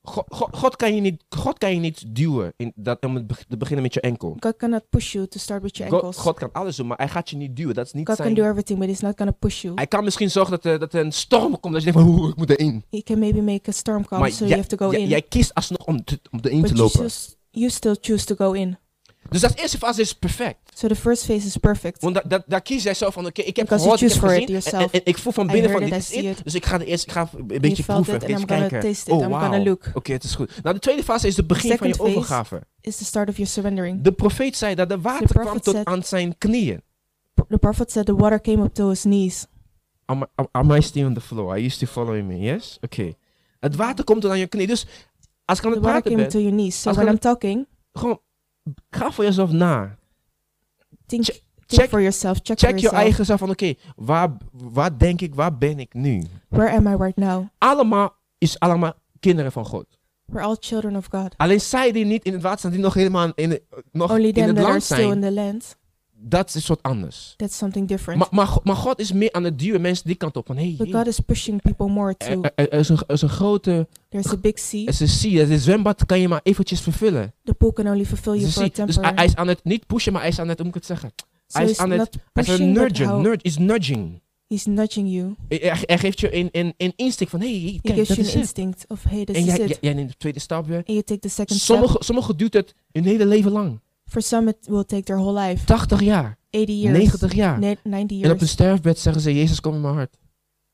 S1: Go- go- God, kan, je niet, God kan je niet duwen in dat, om het be- te beginnen met je enkel.
S2: God cannot push you to start with your
S1: God,
S2: ankles.
S1: God kan alles doen, maar hij gaat je niet duwen. Dat is niet
S2: God
S1: zijn...
S2: can do everything, but He's not gonna push you.
S1: Hij kan misschien zorgen dat, er- dat er een storm komt. Dat je denkt van, "Oeh, ik moet erin.
S2: He can maybe make a storm come, so
S1: jij-
S2: you have to go
S1: jij-
S2: in.
S1: jij kiest alsnog om, te, om erin
S2: but
S1: te
S2: you,
S1: lopen.
S2: still, you still choose to go in.
S1: Dus dat eerste fase is perfect.
S2: So the first phase is perfect.
S1: Want da, da- daar kies jij zelf van, oké, ik heb
S2: Because you
S1: gehoord, ik heb
S2: choose
S1: gezien.
S2: for it
S1: en, en-
S2: yourself.
S1: en ik voel van
S2: I
S1: binnen van,
S2: heard
S1: dit
S2: it, I
S1: is
S2: see
S1: it.
S2: it.
S1: Dus ik ga, er eerst, ik ga een
S2: And
S1: beetje
S2: you felt
S1: proeven,
S2: it, and
S1: eens
S2: I'm gonna
S1: kijken.
S2: taste it.
S1: oh,
S2: I'm gonna
S1: wauw.
S2: look.
S1: Oké, het is goed. Nou, de tweede fase is het begin
S2: Second
S1: van je
S2: phase.
S1: overgave.
S2: It's the start of your surrendering.
S1: De profeet zei dat de water
S2: The prophet
S1: kwam tot
S2: said-
S1: aan zijn knieën.
S2: The prophet said the water came up to his knees.
S1: Am, I- am, am I still on the floor? Are you still following me? Yes? Oké. Het water komt tot aan je knie. Dus als ik aan het
S2: The water
S1: praten
S2: came
S1: ben,
S2: up to your knees. So
S1: Als
S2: when
S1: we-
S2: I'm talking,
S1: gewoon ga voor jezelf na.
S2: think,
S1: Check-
S2: think
S1: check-
S2: for yourself. Check, for
S1: Check je
S2: yourself.
S1: eigen zelf van, oké, waar, waar denk ik, waar ben ik nu?
S2: Where am I right now?
S1: Allemaal is allemaal kinderen van God.
S2: We're all children of God.
S1: Alleen zij die niet in het water staan, die nog helemaal in, de- nog
S2: Only
S1: Oh, in
S2: them
S1: het
S2: that are
S1: land
S2: still in
S1: zijn,
S2: the land.
S1: dat is wat anders.
S2: That's something different.
S1: Maar, maar, Go- maar God is meer aan het duwen mensen die kant op. Van, hey,
S2: But
S1: hey,
S2: God is pushing people more
S1: er,
S2: to.
S1: er- er is een, er is een grote,
S2: There's a big sea.
S1: er is een sea, er is een zwembad kan je maar eventjes vervullen.
S2: The pool can only fulfill
S1: Er is
S2: you
S1: een
S2: for
S1: sea.
S2: a
S1: Dus hij, hij
S2: temporary.
S1: is aan het, niet pushen, maar hij is aan het, hoe moet ik het zeggen?
S2: So
S1: hij is
S2: it's
S1: aan het-
S2: not
S1: Hij is aan
S2: pushing,
S1: het
S2: but
S1: nudgen,
S2: how
S1: nudge, is nudging.
S2: He's nudging you.
S1: Hij, hij geeft je een, een, een instinct van, hé, hey,
S2: He
S1: kijk,
S2: gives
S1: dat
S2: you
S1: is
S2: an
S1: het.
S2: instinct of hey, this
S1: En
S2: is
S1: jij,
S2: it.
S1: jij, jij neemt de tweede stap weer.
S2: And you take the second step.
S1: Sommigen sommige duurt het hun hele leven lang.
S2: For some, it will take their whole life.
S1: 80 jaar,
S2: 80 years.
S1: 90 jaar.
S2: ni- 90
S1: En op hun
S2: years.
S1: sterfbed zeggen ze, Jezus, kom in mijn hart.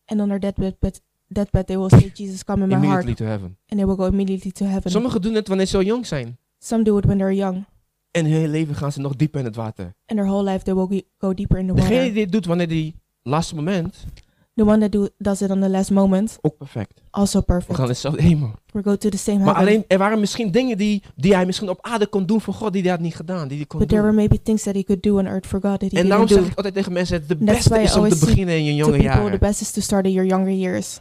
S2: And on their deathbed, but deathbed, they will say, Jesus, come in my heart.
S1: Immediately to heaven.
S2: And they will go immediately to heaven.
S1: Sommigen doen het wanneer ze zo jong zijn.
S2: Some do it when they're young.
S1: En hun hele leven gaan ze nog dieper in het water.
S2: And their whole life, they will ge- go deeper in the
S1: Degene die
S2: water.
S1: dit doet wanneer die laatste moment,
S2: The one that do, does it on the last moment,
S1: ook perfect.
S2: also
S1: We
S2: perfect.
S1: gaan hetzelfde hemel.
S2: We go to the same
S1: Maar
S2: heaven.
S1: alleen, er waren misschien dingen die, die hij misschien op aarde kon doen voor God, die hij had niet gedaan. Die hij kon
S2: But there were
S1: doen.
S2: maybe things that he could do on earth for God that he
S1: En daarom zeg
S2: didn't do.
S1: ik altijd tegen mensen, de
S2: That's
S1: beste
S2: why I
S1: is om te
S2: always see
S1: beginnen in je
S2: To
S1: jonge
S2: people, the
S1: jaren.
S2: best is to start in your younger years.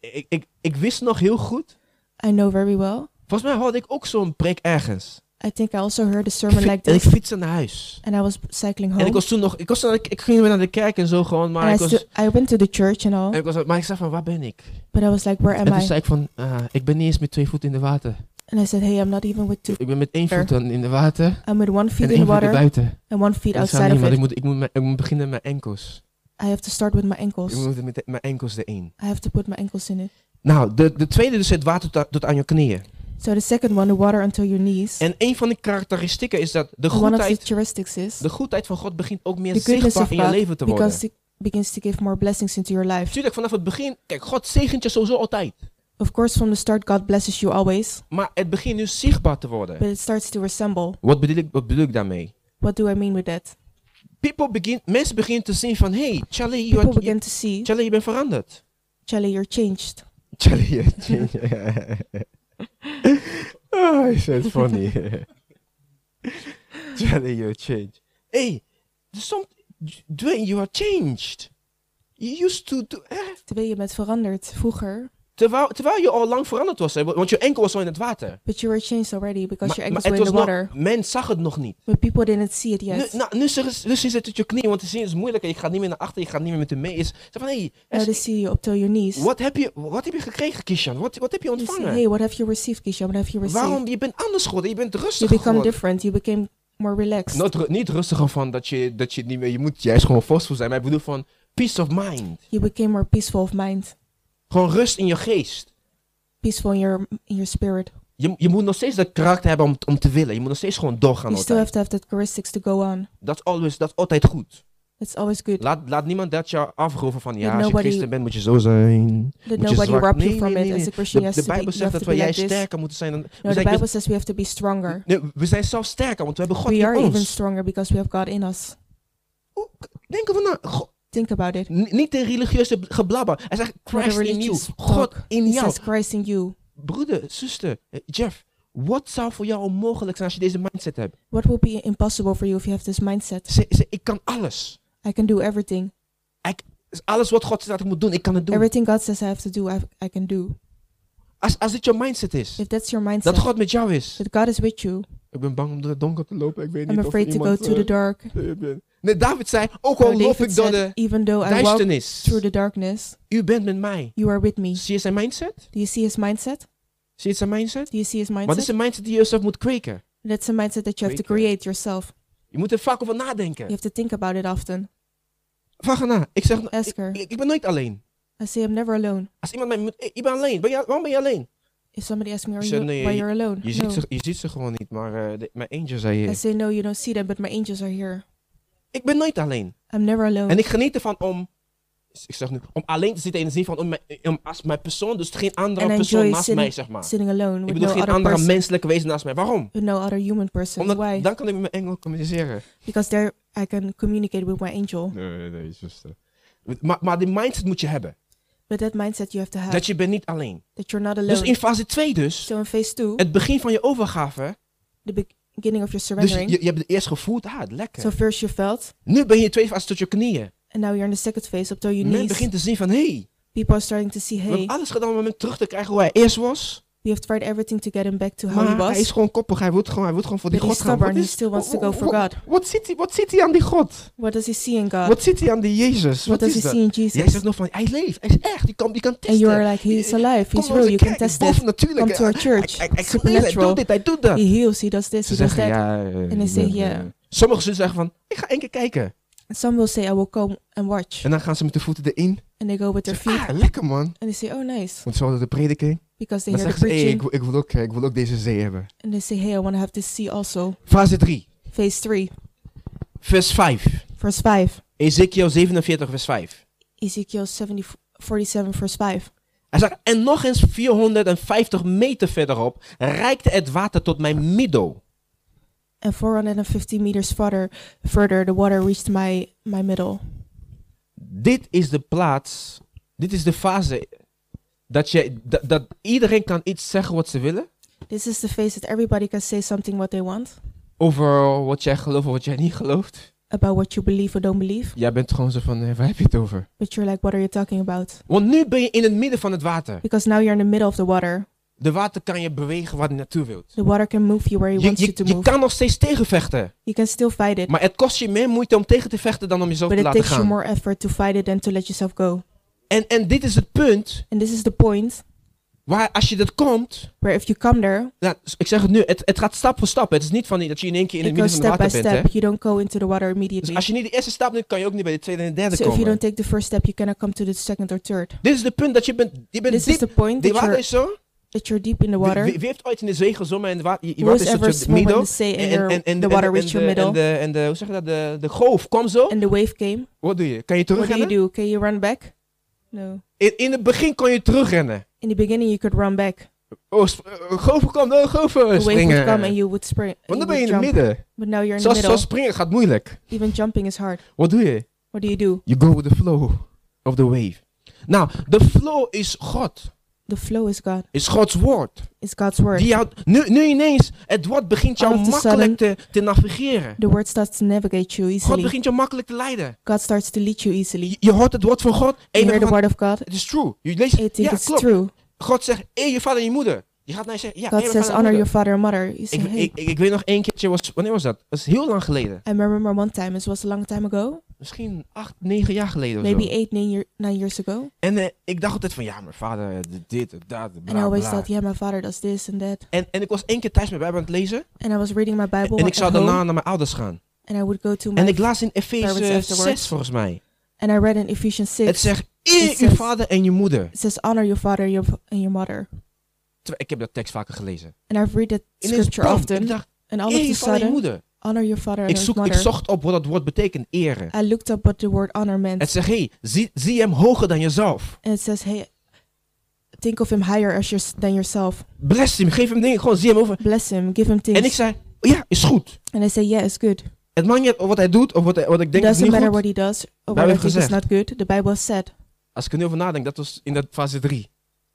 S1: Ik, ik, ik wist nog heel goed,
S2: I know very well.
S1: volgens mij hoorde ik ook zo'n preek ergens.
S2: I think I also heard a
S1: Ik
S2: sermon like
S1: fi- en ik
S2: this,
S1: fietste naar huis.
S2: and I was cycling
S1: En ik
S2: home.
S1: was toen nog, ik, was, toen- ik, ik ging weer naar de kerk en zo gewoon,
S2: And
S1: maar
S2: I,
S1: ik was...
S2: Oh. stu- I went to the church and all,
S1: en ik was, maar ik zei van, waar ben ik?
S2: but I was like, where am
S1: en toen
S2: I?
S1: zei ik van, ah, ik ben niet eens met twee voeten in de water.
S2: And I said, hey, I'm not even with two.
S1: Ik ben met één
S2: Ver.
S1: voet dan in de water
S2: I'm with one feet
S1: en
S2: in
S1: één voet
S2: water
S1: buiten.
S2: and one feet
S1: Ik zei,
S2: outside
S1: nee,
S2: of
S1: want ik
S2: it.
S1: moet, ik, moet mijn- ik moet beginnen met mijn enkels.
S2: I have to start with my
S1: Ik
S2: ankles.
S1: moet met mijn enkels erin.
S2: I have to put my ankles in it.
S1: Nou, de, de tweede dus het water tot, tot aan je knieën.
S2: So the second one, the water until your knees.
S1: En een van de karakteristieken is dat de
S2: One of the
S1: goedheid,
S2: characteristics is
S1: de goedheid van God begint ook meer
S2: the goodness
S1: zichtbaar
S2: of
S1: in je
S2: God
S1: leven te worden.
S2: because it begins to give more blessings into your life.
S1: Natuurlijk, vanaf het begin, kijk, God zegent je sowieso altijd.
S2: Of course, from the start, God blesses you always,
S1: Maar het begint nu zichtbaar te worden.
S2: but it starts to resemble.
S1: Wat bedoel ik, wat bedoel ik daarmee?
S2: What do I mean with that?
S1: People begin, mensen beginnen te zien van, hey, Charlie, you
S2: People
S1: are- je,
S2: begin to see,
S1: Charlie, je bent veranderd.
S2: Charlie, you're changed.
S1: Charlie, je- oh, is het funny. Charlie, you changed. Hey, there's some, Dwayne, you are changed. You used to do, eh?
S2: Terwijl je bent veranderd vroeger,
S1: Terwijl, terwijl je al lang veranderd was, hè, want je enkel was al in het water.
S2: but you were changed already because your ankles
S1: het
S2: were in the
S1: nog-
S2: water.
S1: men zag het nog niet.
S2: But people didn't see it yet.
S1: Nu, nou, nu, zeggen ze- nu zit het op je knie, want te zien is moeilijk. en Je gaat niet meer naar achter, je gaat niet meer met hem mee. Is, zeg van, hey,
S2: Now they
S1: is-
S2: see you up till your knees.
S1: wat, heb je, wat heb je gekregen, Kishan? Wat, wat heb je
S2: They say,
S1: ontvangen?
S2: hey, what have you received, Kisha? What have you received?
S1: Waarom? Je bent anders geworden, je bent
S2: You
S1: rustiger
S2: become
S1: geworden.
S2: different. You became more relaxed.
S1: Not ru- niet rustiger van dat je, dat je het niet meer, je moet juist gewoon forceful zijn. Maar ik bedoel van peace of mind.
S2: You became more peaceful of mind,
S1: Gewoon rust in je geest.
S2: peaceful in your in your spirit.
S1: Je, je moet nog steeds dat karakter hebben om, om te willen. Je moet nog steeds gewoon doorgaan.
S2: You still
S1: altijd.
S2: have to have that characteristics to go on.
S1: Dat is always- dat is altijd goed.
S2: It's always good.
S1: Laat, laat niemand dat je afroven van ja,
S2: That
S1: als je
S2: nobody-
S1: christen bent moet je zo zijn.
S2: That
S1: Moet je
S2: nobody
S1: zwak-
S2: robbed
S1: Nee,
S2: you from
S1: nee,
S2: it.
S1: nee.
S2: As a Christian,
S1: De,
S2: you,
S1: de
S2: have to be,
S1: Bijbel
S2: you
S1: zegt
S2: have
S1: dat
S2: to
S1: wij
S2: be
S1: jij
S2: like this.
S1: sterker moeten zijn dan...
S2: No,
S1: we,
S2: the
S1: zijn
S2: Bible says we have to be stronger.
S1: we, nee, we zijn zelf sterker, want we hebben God
S2: We
S1: in
S2: are even
S1: ons.
S2: stronger because we have God in us.
S1: Hoe- Denken we nou, Go-
S2: Think about it.
S1: n- niet in religieuze blabber. Hij zegt
S2: Not a
S1: Christ in you,
S2: religious
S1: God
S2: talk.
S1: in
S2: He
S1: jou.
S2: says Christ in you.
S1: Broeder, zuster, eh, Jeff, wat zou voor jou onmogelijk zijn als je deze mindset hebt?
S2: What will be impossible for you if you have this mindset?
S1: Ze, ze, ik kan alles.
S2: I can do everything.
S1: Alles wat God zegt dat ik moet doen, ik kan het doen.
S2: Everything God says I have to do, I, I can do.
S1: Als, als dit je mindset is,
S2: If that's your mindset,
S1: dat God met jou is.
S2: that God is with you,
S1: Ik ben bang om door het donker te lopen, ik weet
S2: I'm
S1: niet of er
S2: afraid to go
S1: iemand...
S2: to the dark.
S1: eh, eh, ben. Nee, David zei, ook al
S2: So
S1: loop
S2: David
S1: ik door
S2: said,
S1: de
S2: even though I walk
S1: duisternis,
S2: through the darkness,
S1: u bent met mij.
S2: you are with me.
S1: Zie je zijn mindset?
S2: Do you see his mindset?
S1: Zie je zijn mindset?
S2: Do you see his
S1: Wat is
S2: mindset?
S1: de mindset die je zelf moet kweken?
S2: That's a mindset that you have to
S1: Zeker.
S2: create yourself.
S1: Je moet er vaak over
S2: You
S1: nadenken.
S2: have to think about it often.
S1: Vraag erna. Ik zeg, ik,
S2: Ask her.
S1: ik- ik ben nooit alleen.
S2: I say I'm never alone.
S1: Als iemand mij moet, "Eh, ik ben alleen. Ben je, waarom ben je alleen?
S2: If somebody asks me, are
S1: Ze-
S2: you,
S1: nee,
S2: why you're alone?
S1: Je
S2: no.
S1: ziet, ze, je ziet ze gewoon niet, maar eh, de- mijn angel zei
S2: I
S1: hier.
S2: say, no, you don't see them, but my angels are here.
S1: Ik ben nooit alleen.
S2: I'm never alone.
S1: En ik geniet ervan om, ik zeg nu, om alleen te zitten in de zin van om mijn, om, als mijn persoon, dus geen andere
S2: And
S1: persoon
S2: enjoy
S1: naast
S2: sitting-
S1: mij, zeg maar.
S2: Sitting alone
S1: Ik
S2: with
S1: bedoel,
S2: no
S1: geen
S2: other
S1: andere
S2: person,
S1: menselijke wezen naast mij. Waarom?
S2: with no other human person.
S1: Omdat
S2: Why?
S1: dan kan ik met mijn engel communiceren.
S2: Because there I can communicate with my angel.
S1: Nee, nee, nee, zuster. Maar, maar die mindset moet je hebben.
S2: But that mindset you have to have
S1: Dat je bent niet alleen.
S2: that you're not
S1: Dus
S2: alone.
S1: in fase 2 dus,
S2: so in phase two,
S1: het begin van je overgave.
S2: the beginning of your
S1: Dus
S2: surrendering.
S1: je, je hebt het eerst gevoeld, ah, lekker.
S2: so first you felt,
S1: nu ben je in de tweede fase tot je knieën.
S2: and now you're in the second phase up till your
S1: Men
S2: knees.
S1: begint te zien van, hé, hey,
S2: People are starting to see,
S1: we
S2: hey,
S1: hebben alles gedaan om hem terug te krijgen hoe hij eerst was.
S2: we have tried everything to get him back to how he
S1: Maar hij is
S2: was.
S1: gewoon koppig, hij wil gewoon, hij wil gewoon voor die
S2: But he's
S1: God gaan. Wat
S2: stubborn, he
S1: is-
S2: still wants to go for
S1: wa-
S2: God.
S1: Wat ziet hij- wat ziet hij aan die God?
S2: What does he see in God?
S1: Wat ziet hij aan die Jezus?
S2: What
S1: Wat
S2: does
S1: is
S2: he
S1: dat?
S2: see in Jesus?
S1: Jij zegt nog van, hij leeft, hij is echt, je kan, je kan testen.
S2: and you are like, he's
S1: Eh,
S2: alive,
S1: Kom
S2: he's
S1: naar onze
S2: real, you can
S1: kerk,
S2: test
S1: boven
S2: it.
S1: natuurlijk.
S2: Come to our
S1: Hij- hij-
S2: church.
S1: hij- Hij doet
S2: Supernatural.
S1: dit, hij doet dat.
S2: He heals, he does this,
S1: Ze
S2: he does
S1: zeggen
S2: that.
S1: ja. eh,
S2: En dan
S1: ik
S2: zeg
S1: ben,
S2: je,
S1: eh, Sommigen zullen zeggen van, ik ga één keer kijken.
S2: And some will say, I will come and watch.
S1: En dan gaan ze met de voeten erin.
S2: And they go with their
S1: Zeg,
S2: feet
S1: ah, lekker man.
S2: and they say, Oh, nice.
S1: Want ze hadden de prediking.
S2: Because they
S1: Dan
S2: hear the
S1: zeggen ze, hey,
S2: preaching.
S1: ik, wil- ik, wil ook, eh, ik wil ook deze zee hebben.
S2: And they say, Hey, I want to have this sea also.
S1: Fase 3,
S2: Phase 3,
S1: vers 5.
S2: verse 5.
S1: Ezekiel 47, vers 5.
S2: Ezekiel 70, 47, verse 5.
S1: Hij zegt, en nog eens 450 meter verderop reikte het water tot mijn middel.
S2: And 450 meters further, further, the water reached my, my middle.
S1: Dit is de plaats, dit is de fase dat, je, dat, dat iedereen kan iets zeggen wat ze willen
S2: This is the phase that everybody can say something what they want
S1: over wat jij gelooft of wat jij niet gelooft.
S2: about what you believe or don't believe.
S1: Jij bent gewoon zo van, eh, waar heb je het over?
S2: But you're like, What are you talking about?
S1: Want nu ben je in het midden van het water.
S2: Because now you're in the middle of the water.
S1: De water kan je bewegen waar je naartoe wilt.
S2: The water can move you where it
S1: Je,
S2: wants you
S1: je,
S2: to
S1: je
S2: move.
S1: kan nog steeds tegenvechten.
S2: You can still fight it,
S1: Maar het kost je meer moeite om tegen te vechten dan om jezelf
S2: but
S1: te
S2: it
S1: laten
S2: takes you
S1: gaan.
S2: more effort to fight it than to let yourself go.
S1: En, en dit is het punt
S2: And this is the point
S1: waar als je dat komt,
S2: where if you come there,
S1: Nou, s- ik zeg het nu, het, het gaat stap voor stap. Het is niet van dat je in één keer in
S2: it
S1: het midden
S2: goes
S1: van de
S2: step by
S1: water bent. Hè?
S2: step. You don't go into the water
S1: Dus
S2: immediately.
S1: als je niet de eerste stap doet, kan je ook niet bij de tweede en de derde
S2: So if you
S1: komen.
S2: don't take the first step, you cannot come to the second or third.
S1: Dit is de punt dat je bent, je bent
S2: This
S1: diep.
S2: is the point
S1: die
S2: that
S1: water
S2: you're,
S1: is zo.
S2: that you're deep in the
S1: Wie,
S2: water.
S1: wie- wie heeft ooit in de zee gezongen en de wa- je- je
S2: Who
S1: water
S2: has
S1: is tot
S2: ever
S1: je
S2: swum in
S1: middel?
S2: the sea
S1: En-
S2: and your-
S1: en- en-
S2: the
S1: en-
S2: water
S1: en-
S2: reached your
S1: en de- en
S2: middle
S1: de- En de, hoe zeg je dat, de, de golf, kwam zo.
S2: and the wave came?
S1: Wat doe je? Kan je
S2: What do you
S1: terugrennen?
S2: do? Can you run back? No.
S1: In, in het begin kon je terugrennen.
S2: In the beginning, you could run back.
S1: Oh, sp- eh, golven kwam, oh, golven
S2: The wave would
S1: springen.
S2: come and you would spring. and
S1: Want
S2: you
S1: dan ben je
S2: would
S1: in het
S2: jump.
S1: midden.
S2: But now you're in the
S1: Zoals,
S2: middle.
S1: zoals springen gaat moeilijk.
S2: Even jumping is hard.
S1: Wat doe je?
S2: What do you do?
S1: You go with the flow of the wave. Nou, de flow is God.
S2: The flow is God.
S1: is Gods woord.
S2: It's God's word.
S1: Die jou, nu, nu ineens, het woord begint jou
S2: All of a
S1: makkelijk te, te navigeren.
S2: The word starts to navigate you
S1: God
S2: easily.
S1: begint jou makkelijk te leiden.
S2: God starts to lead you
S1: Je,
S2: easily.
S1: je hoort het woord van God en
S2: You
S1: je
S2: hear the
S1: gaat,
S2: word of God.
S1: het is true. Je leest,
S2: You think
S1: ja,
S2: it's
S1: klopt.
S2: true.
S1: God zegt, eer je vader en je moeder. Je gaat naar je zeggen, ja, eer
S2: God
S1: je
S2: says,
S1: vader en
S2: honor
S1: je
S2: your
S1: moeder.
S2: father and mother. You say,
S1: Ik,
S2: hey.
S1: ik, ik, ik weet nog één keertje, was, wanneer was dat? Dat is heel lang geleden.
S2: I remember one time, it was a long time ago,
S1: Misschien acht, negen jaar geleden of zo.
S2: maybe eight, nine, year, nine years ago.
S1: En eh, ik dacht altijd van, ja, mijn vader, eh, dit, dit, dat,
S2: And I
S1: bla,
S2: always
S1: bla.
S2: thought, yeah, my father does this and that.
S1: En, en ik was één keer thuis met Bijbel aan het lezen.
S2: And I was reading my Bible
S1: en ik
S2: at
S1: zou
S2: home,
S1: daarna naar mijn ouders gaan.
S2: and I would go to my...
S1: En ik las in Efeze
S2: parents afterwards.
S1: 6 volgens mij.
S2: and I read in Ephesians 6,
S1: Het zegt eer
S2: it
S1: uw
S2: says-
S1: vader en je moeder.
S2: it says, honor your father and your, and your mother.
S1: Terwijl- ik heb dat tekst vaker gelezen.
S2: And I've read that
S1: Ineens,
S2: scripture
S1: bam, Ik
S2: often.
S1: dacht,
S2: And all
S1: eer
S2: of a
S1: je vader en je
S2: sudden,
S1: moeder.
S2: honor your father and
S1: Ik,
S2: your
S1: zoek, ik
S2: mother.
S1: zocht op wat dat woord betekent, eren.
S2: I looked up what the word honor meant.
S1: Het zegt, hé, hey, zie, zie hem hoger dan jezelf.
S2: and it says, hey, think of him higher as your, than yourself.
S1: Bless hem, geef hem dingen, gewoon zie hem over.
S2: Bless him, give him things.
S1: En ik zei, ja, is goed.
S2: And I say, yeah, it's good.
S1: Het maakt niet uit wat hij doet of wat, hij- wat ik
S2: It
S1: denk dat is
S2: doesn't
S1: niet
S2: matter
S1: goed.
S2: what he does
S1: Bijbel
S2: or what I
S1: heeft
S2: think is
S1: gezegd.
S2: not good. The Bible said.
S1: Als ik er nu over nadenk, dat was in dat fase 3.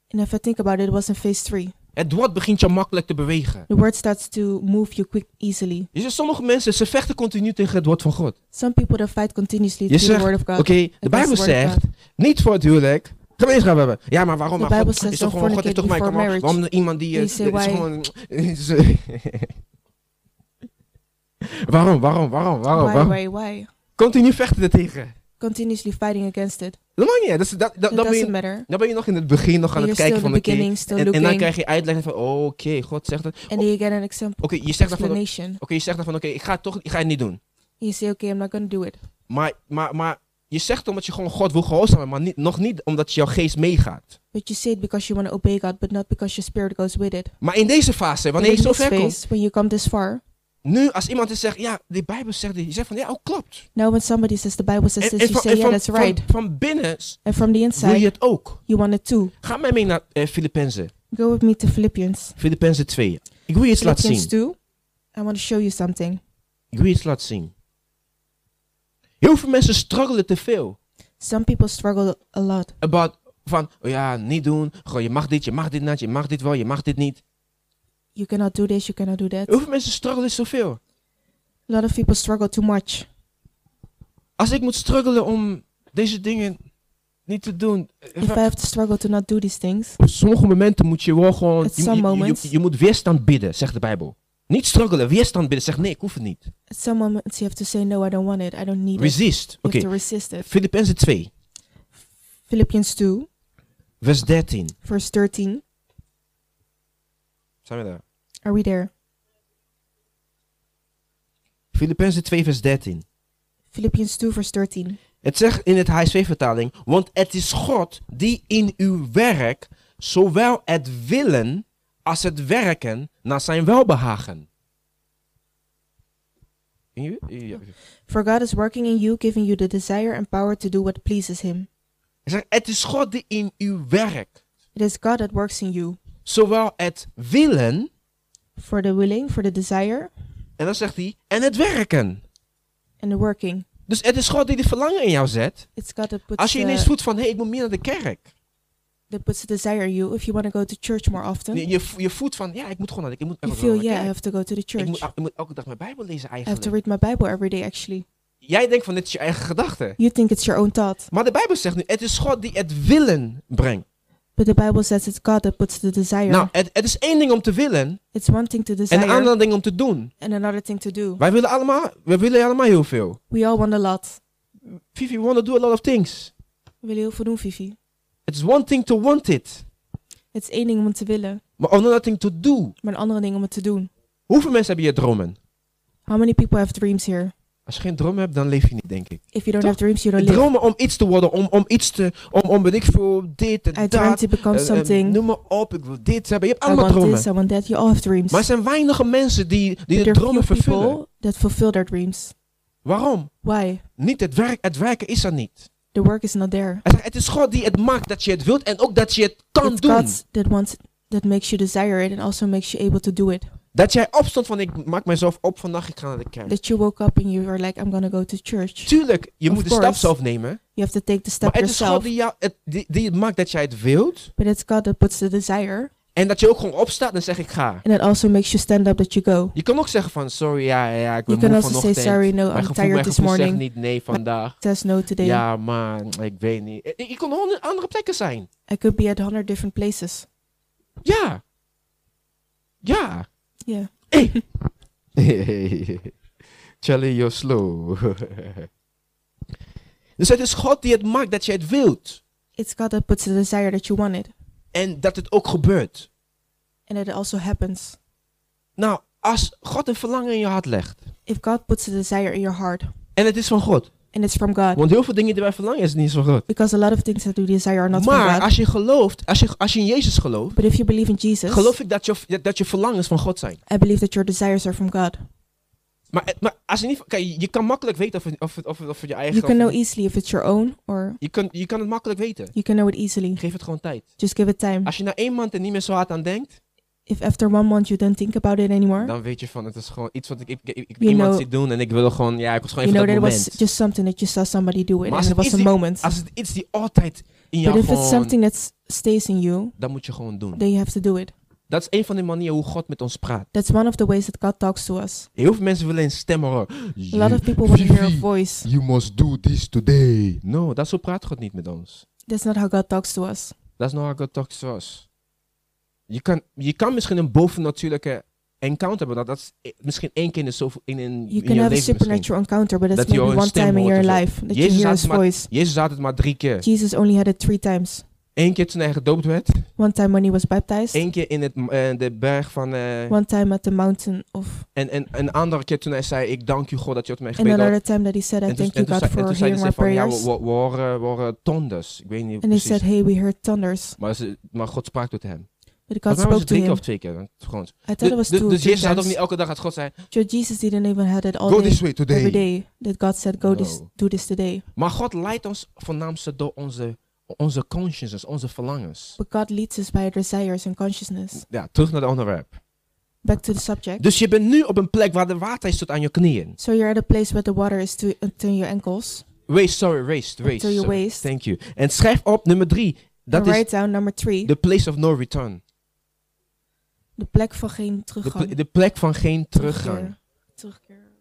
S2: And if I think about it, it was in phase three.
S1: Het woord begint je makkelijk te bewegen.
S2: The word starts to move you quick, easily.
S1: Je ziet sommige mensen, ze vechten continu tegen het woord van God.
S2: Some people that fight continuously
S1: Je
S2: through the
S1: zegt,
S2: word of
S1: Oké,
S2: God.
S1: de
S2: Against the
S1: Bijbel
S2: word of
S1: zegt,
S2: God.
S1: niet voor het huwelijk, gemeenschap hebben. Ja, maar waarom?
S2: The
S1: Maar
S2: Bible
S1: God
S2: says
S1: is toch
S2: don't
S1: gewoon, God is
S2: fornicate
S1: toch mijn
S2: before
S1: command-
S2: marriage.
S1: Waarom iemand die... eh,
S2: And you
S1: dit is
S2: say
S1: gewoon... is- waarom, waarom, waarom, waarom,
S2: why,
S1: waarom?
S2: why, why?
S1: Continu vechten er tegen.
S2: Continuously fighting against it.
S1: Dat mag niet, hè. Dus dat, is- dat, dat,
S2: It
S1: dat ben
S2: doesn't
S1: je,
S2: matter.
S1: dan ben je nog in het begin, nog aan
S2: You're
S1: het
S2: still
S1: kijken
S2: in the
S1: van oké.
S2: beginning, still
S1: en, en dan
S2: looking.
S1: krijg je uitleg van, oh, oké, God zegt dat. Oké,
S2: And then you get an example,
S1: je zegt dan van, oké,
S2: explanation.
S1: je zegt dan van, oké, ik ga het toch, ik ga het niet doen.
S2: You say, okay, I'm not going to do it.
S1: Maar, maar, maar je zegt omdat je gewoon God wil gehoorzamen, maar niet, nog niet omdat jouw geest meegaat.
S2: But you say it because you want to obey God, but not because your spirit goes with it.
S1: Maar in deze fase, wanneer
S2: But
S1: je
S2: in
S1: zo
S2: this
S1: ver komt,
S2: phase, when you come this far,
S1: Nu, als iemand eens zegt, ja, de Bijbel zegt dit. Je zegt van, ja, oh, klopt.
S2: now when somebody says the Bible says this, you
S1: van,
S2: say, yeah,
S1: van,
S2: that's
S1: van-
S2: right.
S1: Van, binnen s-
S2: And from the
S1: wil je
S2: inside,
S1: het ook.
S2: you want it too.
S1: Ga mij mee naar eh Filippenzen.
S2: Go with me to Philippians.
S1: Filippenzen 2. Ik wil je iets laten zien.
S2: Philippians 2. I want to show you something.
S1: Ik wil je iets laten zien. Heel veel mensen struggelen te veel.
S2: Some people struggle a lot.
S1: About van, oh ja, niet doen. Gewoon, je mag dit, je mag dit niet, je mag dit wel, je mag dit niet.
S2: You cannot do this, you cannot do that.
S1: Heel veel mensen struggelen zoveel.
S2: A lot of people struggle too much.
S1: Als ik moet struggelen om deze dingen niet te doen. eh,
S2: If I have to struggle to not do these things,
S1: Op sommige momenten moet je wel gewoon.
S2: At
S1: Je,
S2: some
S1: je- je-
S2: moments.
S1: je- je moet weerstand bidden, zegt de Bijbel. Niet struggelen, weerstand bidden. Zeg nee, ik hoef het niet.
S2: at some moments you have to say, no, I don't want it. I don't need it.
S1: Resist.
S2: You
S1: Oké,
S2: have to resist it.
S1: Filippenzen 2,
S2: Philippians 2,
S1: vers 13.
S2: verse 13.
S1: Zijn we daar?
S2: Are we there?
S1: Filippenzen 2, vers 13.
S2: Philippians 2, vers 13.
S1: Het zegt in het HSV-vertaling, want het is God die in uw werk zowel het willen als het werken naar zijn welbehagen. Ken je? Ja.
S2: For God is working in you, giving you the desire and power to do what pleases Him.
S1: Het zegt, het is God die in uw werk
S2: It is God that works in you
S1: zowel het willen,
S2: for the willing, for the desire,
S1: en dan zegt hij, en het werken.
S2: and the working.
S1: Dus het is God die de verlangen in jou zet.
S2: It's God that puts,
S1: Als je ineens
S2: the,
S1: voelt van, hé, hey, ik moet meer naar de kerk.
S2: that puts the desire in you. If you want to go to church more often,
S1: Je, je, vo- je voelt van, ja, ik moet gewoon naar de, ik moet
S2: you
S1: elke dag
S2: feel,
S1: naar de
S2: yeah, I
S1: kerk.
S2: have to go to the
S1: Ik
S2: church.
S1: moet, ik moet elke dag mijn Bijbel lezen
S2: I have
S1: eigenlijk.
S2: to read my Bible every day, actually.
S1: Jij denkt van, dit is je eigen gedachte.
S2: You think it's your own thought,
S1: Maar de Bijbel zegt nu, het is God die het willen brengt.
S2: but the Bible says it's God that puts the desire.
S1: Nou, het, het is één ding om te willen
S2: It's one thing to
S1: en
S2: desire
S1: een ander ding om te doen.
S2: and another thing to do.
S1: Wij willen allemaal, wij willen allemaal heel veel.
S2: We all want a lot.
S1: Vivi, we want to do a lot of things.
S2: We willen heel veel doen, Vivi.
S1: It's one thing to want it,
S2: Het is één ding om het te willen,
S1: maar another thing to do.
S2: maar een andere ding om het te doen.
S1: Hoeveel mensen hebben hier dromen?
S2: How many people have dreams here?
S1: Als je geen droom hebt, dan leef je niet, denk ik.
S2: If you don't
S1: Toch?
S2: have dreams, you don't live.
S1: Dromen om iets te worden, om, om iets te, om, om weet ik veel, dit en
S2: I dreamt
S1: dat.
S2: to become
S1: eh, eh,
S2: something.
S1: noem maar op, ik wil dit hebben. Je hebt
S2: I
S1: allemaal
S2: want
S1: dromen.
S2: this, I want that. You all have dreams.
S1: Maar er zijn weinige mensen die, die de
S2: There are few
S1: dromen vervullen.
S2: people that fulfill their dreams.
S1: Waarom?
S2: Why?
S1: Niet het werk, het werken is er niet.
S2: The work is not there.
S1: Hij zegt, het is God die het maakt dat je het wilt en ook dat je het kan
S2: it's
S1: doen.
S2: God that wants that makes you desire it and also makes you able to do it.
S1: Dat jij opstond van ik maak mezelf op vandaag, ik ga naar de kerk.
S2: That you woke up and you are like, I'm gonna go to church.
S1: Tuurlijk, je
S2: Of
S1: moet de
S2: course.
S1: stap zelf nemen.
S2: You have to take the
S1: Maar
S2: step
S1: het is God
S2: yourself.
S1: die, jou, het, die, die het maakt dat jij het wilt.
S2: But it's God that puts the desire
S1: En dat je ook gewoon opstaat en zegt ik ga.
S2: and that also makes you stand up that you go.
S1: Je kan ook zeggen van sorry, ja, ja, ik ben
S2: You
S1: moe
S2: can also
S1: vanochtend.
S2: say sorry, no,
S1: mijn
S2: I'm
S1: gevoel, mijn
S2: tired this
S1: gevoel zegt
S2: morning.
S1: niet nee vandaag.
S2: Says no today.
S1: Ja, maar ik weet niet. Eh, Je kan honderd andere plekken zijn.
S2: I could be at hundred different places.
S1: Ja. Ja.
S2: Yeah.
S1: Charlie, you're slow. dus het is God die het maakt dat je het wilt.
S2: It's God that puts the desire that you want it.
S1: En dat het ook gebeurt.
S2: And that it also happens.
S1: Nou, als God een verlangen in je hart legt.
S2: If God puts a desire in your heart
S1: En het is van God.
S2: and it's from God.
S1: Want heel veel dingen die wij verlangen is niet van God.
S2: Because a lot of things that we desire are not
S1: Maar
S2: from God.
S1: als je gelooft, als je, als je in Jezus gelooft.
S2: But if you believe in Jesus,
S1: Geloof ik dat je, dat je verlangens van God zijn.
S2: I believe that your desires are from God.
S1: Maar, het- maar als je niet... Kijk, je kan makkelijk weten of het, of het, of het, of het je eigen...
S2: You can know
S1: of-
S2: easily if it's your own, or
S1: je, kan, je kan het makkelijk weten.
S2: you can know it easily.
S1: Geef het gewoon tijd.
S2: Just give it time.
S1: Als je na één maand er niet meer zo hard aan denkt...
S2: If after one month you don't think about it anymore,
S1: Dan weet je van, het is gewoon iets wat ik, ik, ik, ik
S2: You
S1: iemand
S2: know-
S1: zie doen en ik wil gewoon, ja, ik was gewoon
S2: you
S1: even
S2: know
S1: dat
S2: that it was
S1: moment.
S2: just something that you saw somebody do it,
S1: Maar
S2: and
S1: als
S2: it
S1: het
S2: was
S1: is
S2: a
S1: die-
S2: moment.
S1: Als het iets die altijd in
S2: But
S1: jou
S2: if it's
S1: gewoon,
S2: something that s- stays in you,
S1: dat moet je gewoon doen.
S2: then you have to do it.
S1: Dat is een van de manieren hoe God met ons praat.
S2: That's one of the ways that God talks to us.
S1: Heel veel mensen willen een stem horen.
S2: A lot of people want to hear a
S1: Vivi,
S2: voice.
S1: You must do this today. No, dat zo praat God niet met ons.
S2: That's not how God talks to us.
S1: Dat is not how God talks to us. Je kan, je kan misschien een bovennatuurlijke encounter hebben. Dat, dat is eh, misschien één keer in, de zoveel, in, in,
S2: You
S1: in je
S2: can have a
S1: leven misschien.
S2: supernatural encounter, but
S1: Dat
S2: that's
S1: je
S2: maybe
S1: een
S2: one
S1: stem
S2: time in
S1: hoort
S2: your
S1: of zo.
S2: life that you
S1: Jezus
S2: hear
S1: had
S2: His
S1: maar-
S2: voice.
S1: Jezus had het maar drie keer.
S2: Jesus only had it three times.
S1: Eén keer toen hij gedoopt werd.
S2: One time when he was baptized.
S1: Eén keer in het, eh, de berg van... eh,
S2: One time at the mountain of,
S1: en, en een andere keer toen hij zei... Ik dank u God dat je het mij
S2: and
S1: gebeden had.
S2: another time that he said, "I
S1: En toen,
S2: thank
S1: en
S2: you
S1: toen
S2: God
S1: zei- en
S2: for
S1: toen zei
S2: hearing
S1: hij
S2: my
S1: van... Ja, we,
S2: prayers."
S1: we, we horen, we horen tonders. Ik weet niet
S2: And they
S1: precies.
S2: said, "Hey, we heard thunders."
S1: maar, ze- maar God sprak tot hem.
S2: But God
S1: Volgens mij was
S2: spoke
S1: het
S2: to
S1: drie keer
S2: him.
S1: of twee keer. want het Gewoon.
S2: I thought it was
S1: Dus-
S2: two. or
S1: dus
S2: three
S1: Jezus had ook
S2: times.
S1: niet elke dag dat God zei...
S2: So Jesus didn't even had it all
S1: uh, Go
S2: day,
S1: this way today.
S2: every day. That God said, "Go this,
S1: No.
S2: do this today."
S1: Maar God leidt ons voornaamste door onze, onze consciences, onze verlangens.
S2: But God leads us by our desires and consciousness.
S1: Ja, terug naar het onderwerp.
S2: Back to the subject.
S1: Dus je bent nu op een plek waar de water is tot aan je knieën.
S2: So you're at a place where the water is to until your ankles,
S1: Waist, sorry, waist, waist.
S2: until your
S1: sorry.
S2: waist.
S1: Thank you. En schrijf op nummer drie. Dat
S2: And
S1: is
S2: write down number three,
S1: de place of no return.
S2: de plek van geen
S1: De,
S2: teruggang.
S1: ple- de plek van geen teruggang.
S2: Terugkeer. Terugkeer.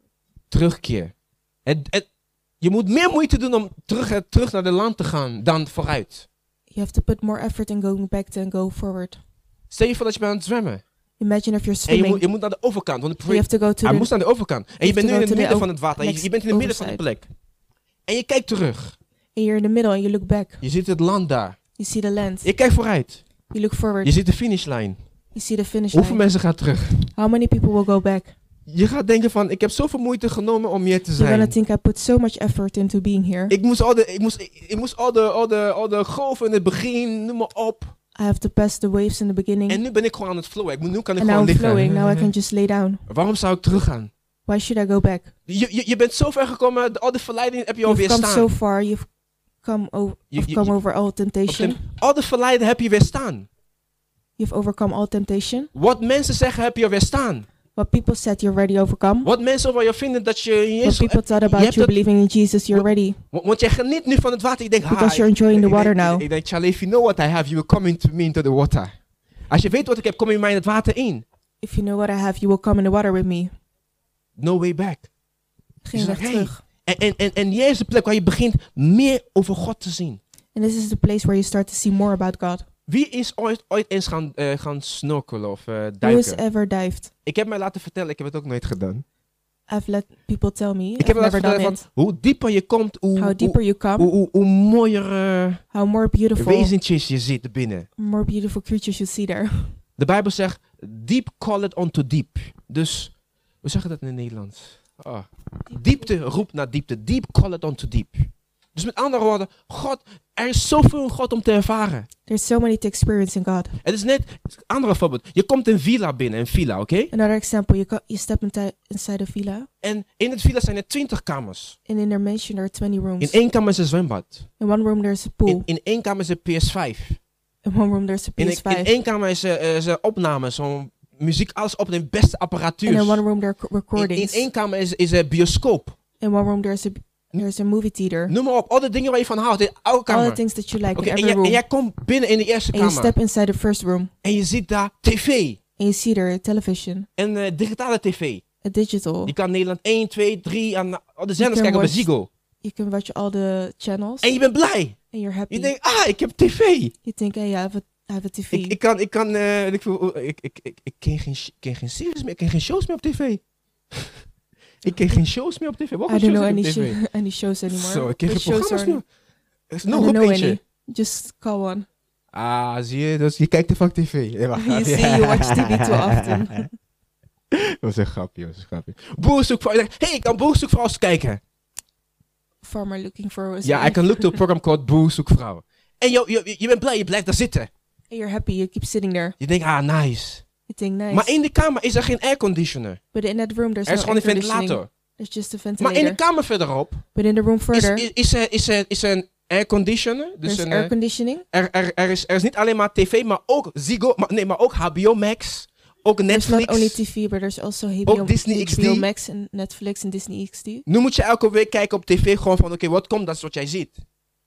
S1: Terugkeer. Het, het- je moet meer moeite doen om terug, terug naar de land te gaan dan vooruit.
S2: You have to put more effort in going back than go forward.
S1: Stel je voor dat je bent aan het zwemmen.
S2: Imagine if you're
S1: En je
S2: swimming.
S1: moet, je moet naar de overkant. Want de
S2: You have to go to
S1: Hij
S2: the
S1: moest aan de overkant. En je
S2: Heeft
S1: bent nu
S2: hij
S1: in het
S2: wel te
S1: midden
S2: de
S1: van het water. Je, je
S2: next
S1: bent in het midden van de plek. En je kijkt terug.
S2: and you're in the middle and you look back.
S1: Je ziet het land daar.
S2: You see the land.
S1: Je kijkt vooruit.
S2: You look forward.
S1: Je ziet de finishlijn.
S2: You see the finish
S1: Hoeveel
S2: line.
S1: mensen gaan terug?
S2: How many people will go back?
S1: Je gaat denken van, ik heb zoveel moeite genomen om hier te
S2: You're gonna
S1: zijn.
S2: think I put so much effort into being here.
S1: Ik moest al de, ik moest, ik, ik moest al de, al de, al de golven in het begin, noem maar op.
S2: I have to pass the waves in the beginning,
S1: En nu ben ik gewoon aan het flowen. Ik moet, nu kan ik
S2: and Hm. now
S1: gewoon
S2: I'm
S1: liggen.
S2: flowing. Now I can just lay down.
S1: Waarom zou ik teruggaan?
S2: Why should I go back?
S1: Je, je, je bent zo ver gekomen, de- al de verleidingen heb je
S2: You've
S1: alweer
S2: come so
S1: staan.
S2: far. You've come, o-
S1: Je-
S2: I've
S1: je-
S2: come
S1: je-
S2: over all temptation.
S1: Al de verleidingen heb je weer staan.
S2: You've overcome all temptation.
S1: Wat mensen zeggen heb je weer staan.
S2: What people said you're already overcome.
S1: Wat mensen van je vinden dat je in
S2: What
S1: Jezus...
S2: people thought
S1: je
S2: about
S1: hebt
S2: you
S1: het-
S2: believing in Jesus, you're
S1: Wa-
S2: ready
S1: Want want jij geniet nu van het water. Ik denk, ha,
S2: because you're enjoying the
S1: ik
S2: water
S1: denk-
S2: now.
S1: Ik denk, Charlie, if you know what I have, you will come into me into the water. Als je weet wat ik heb, kom je mij in het water in.
S2: If you know what I have, you will come in the water with me.
S1: No way back.
S2: Geen
S1: Is
S2: weg
S1: er één?
S2: terug.
S1: En, en, en, en hier is de plek waar je begint meer over God te zien.
S2: And this is the place where you start to see more about God.
S1: Wie is ooit, ooit eens gaan, eh, gaan snorkelen of eh,
S2: Who e- has
S1: duiken?
S2: ever dived?
S1: Ik heb mij laten vertellen, ik heb het ook nooit gedaan.
S2: I've let people tell me.
S1: Ik
S2: I've
S1: heb me laten
S2: never done
S1: vertellen
S2: it.
S1: van hoe dieper je komt, hoe,
S2: How
S1: hoe,
S2: deeper you come,
S1: hoe, hoe, hoe mooier eh,
S2: how more beautiful,
S1: wezentjes je zit binnen.
S2: more beautiful creatures you see there.
S1: De Bijbel zegt, deep call it unto deep. Dus, hoe zeg je dat in het Nederlands? Ah. Diepte roept naar diepte. Deep call it unto deep. Dus met andere woorden, God, er is zoveel in God om te ervaren.
S2: There's so many to experience in God.
S1: Het is net, andere voorbeeld. Je komt een villa binnen, een villa, oké?
S2: Another example, you, co- you step into, inside a villa,
S1: En in het villa zijn er twintig kamers.
S2: and in their mansion there are 20
S1: In
S2: rooms.
S1: één kamer is een zwembad.
S2: In one room there's a
S1: In,
S2: pool.
S1: in één kamer is een PS5.
S2: In one room there's a
S1: In,
S2: PS5.
S1: in één kamer is, eh, is er opname, zo'n muziek, alles op de beste apparatuur.
S2: and in one room there are co-
S1: in, in
S2: recordings.
S1: één kamer is, is een bioscoop.
S2: In one room there's a there's a movie theater.
S1: Noem maar op, alle dingen waar je van houdt in elke
S2: All
S1: kamer.
S2: the things that you like
S1: Oké, en,
S2: in every
S1: jij, en
S2: room.
S1: jij komt binnen in de eerste
S2: and you
S1: kamer
S2: step inside the first room
S1: en je ziet daar tv.
S2: and you see there a television,
S1: En eh, digitale tv.
S2: a digital.
S1: Je kan Nederland 1, 2, 3 aan al de zenders
S2: Oh. can
S1: kijken bij
S2: watch-
S1: Ziggo.
S2: You can watch all the channels
S1: En je bent blij.
S2: and you're
S1: Je
S2: happy.
S1: denkt, ah, ik heb tv.
S2: You think, hey, I have a I have a TV.
S1: Ik, ik kan, ik kan, eh, weet ik, veel, eh, ik, ik, ik, ik ken geen, sh- ik ken geen series meer, ik ken geen shows meer op tv. ik ken geen shows meer op tv. Welke
S2: I don't
S1: shows
S2: know
S1: heb
S2: any
S1: je op tv?
S2: sho- any shows anymore.
S1: Zo, ik ken geen
S2: Which shows
S1: programma's
S2: are-
S1: meer. Er is
S2: I
S1: nog
S2: don't
S1: op
S2: know
S1: eentje.
S2: any. Just call one.
S1: Ah, zie je, dus je kijkt te vaak tv. Ja, maar-
S2: You see, you watch TV too often.
S1: dat was een grapje, dat was een grapje. Boer zoekt vrouw. Hé, hey, ik kan Boer zoekt vrouw eens kijken.
S2: Farmer looking for a
S1: Ja,
S2: wife.
S1: I can look to a program called Boer zoekt vrouw. En je, je, je bent blij, je blijft daar zitten.
S2: And you're happy. You keep sitting there.
S1: Je denkt, ah, nice.
S2: You think nice.
S1: Maar in de kamer is er geen airconditioner.
S2: but in that room there's
S1: Er is
S2: no
S1: gewoon een
S2: air conditioning.
S1: ventilator.
S2: There's just a
S1: Maar
S2: ventilator.
S1: in de kamer verderop
S2: but in the room
S1: is,
S2: further
S1: is, is, er, is, er, is er een airconditioner. Dus
S2: there's
S1: een,
S2: air
S1: eh,
S2: conditioning.
S1: er, er, er, is, er is niet alleen maar tv, maar ook Ziggo, maar, nee, maar ook HBO Max, ook
S2: There's not only
S1: Netflix.
S2: TV, but there's also HBO,
S1: Disney XD.
S2: HBO Max en Netflix en Disney XD.
S1: Nu moet je elke week kijken op tv gewoon van, oké, wat komt, dat is wat jij ziet.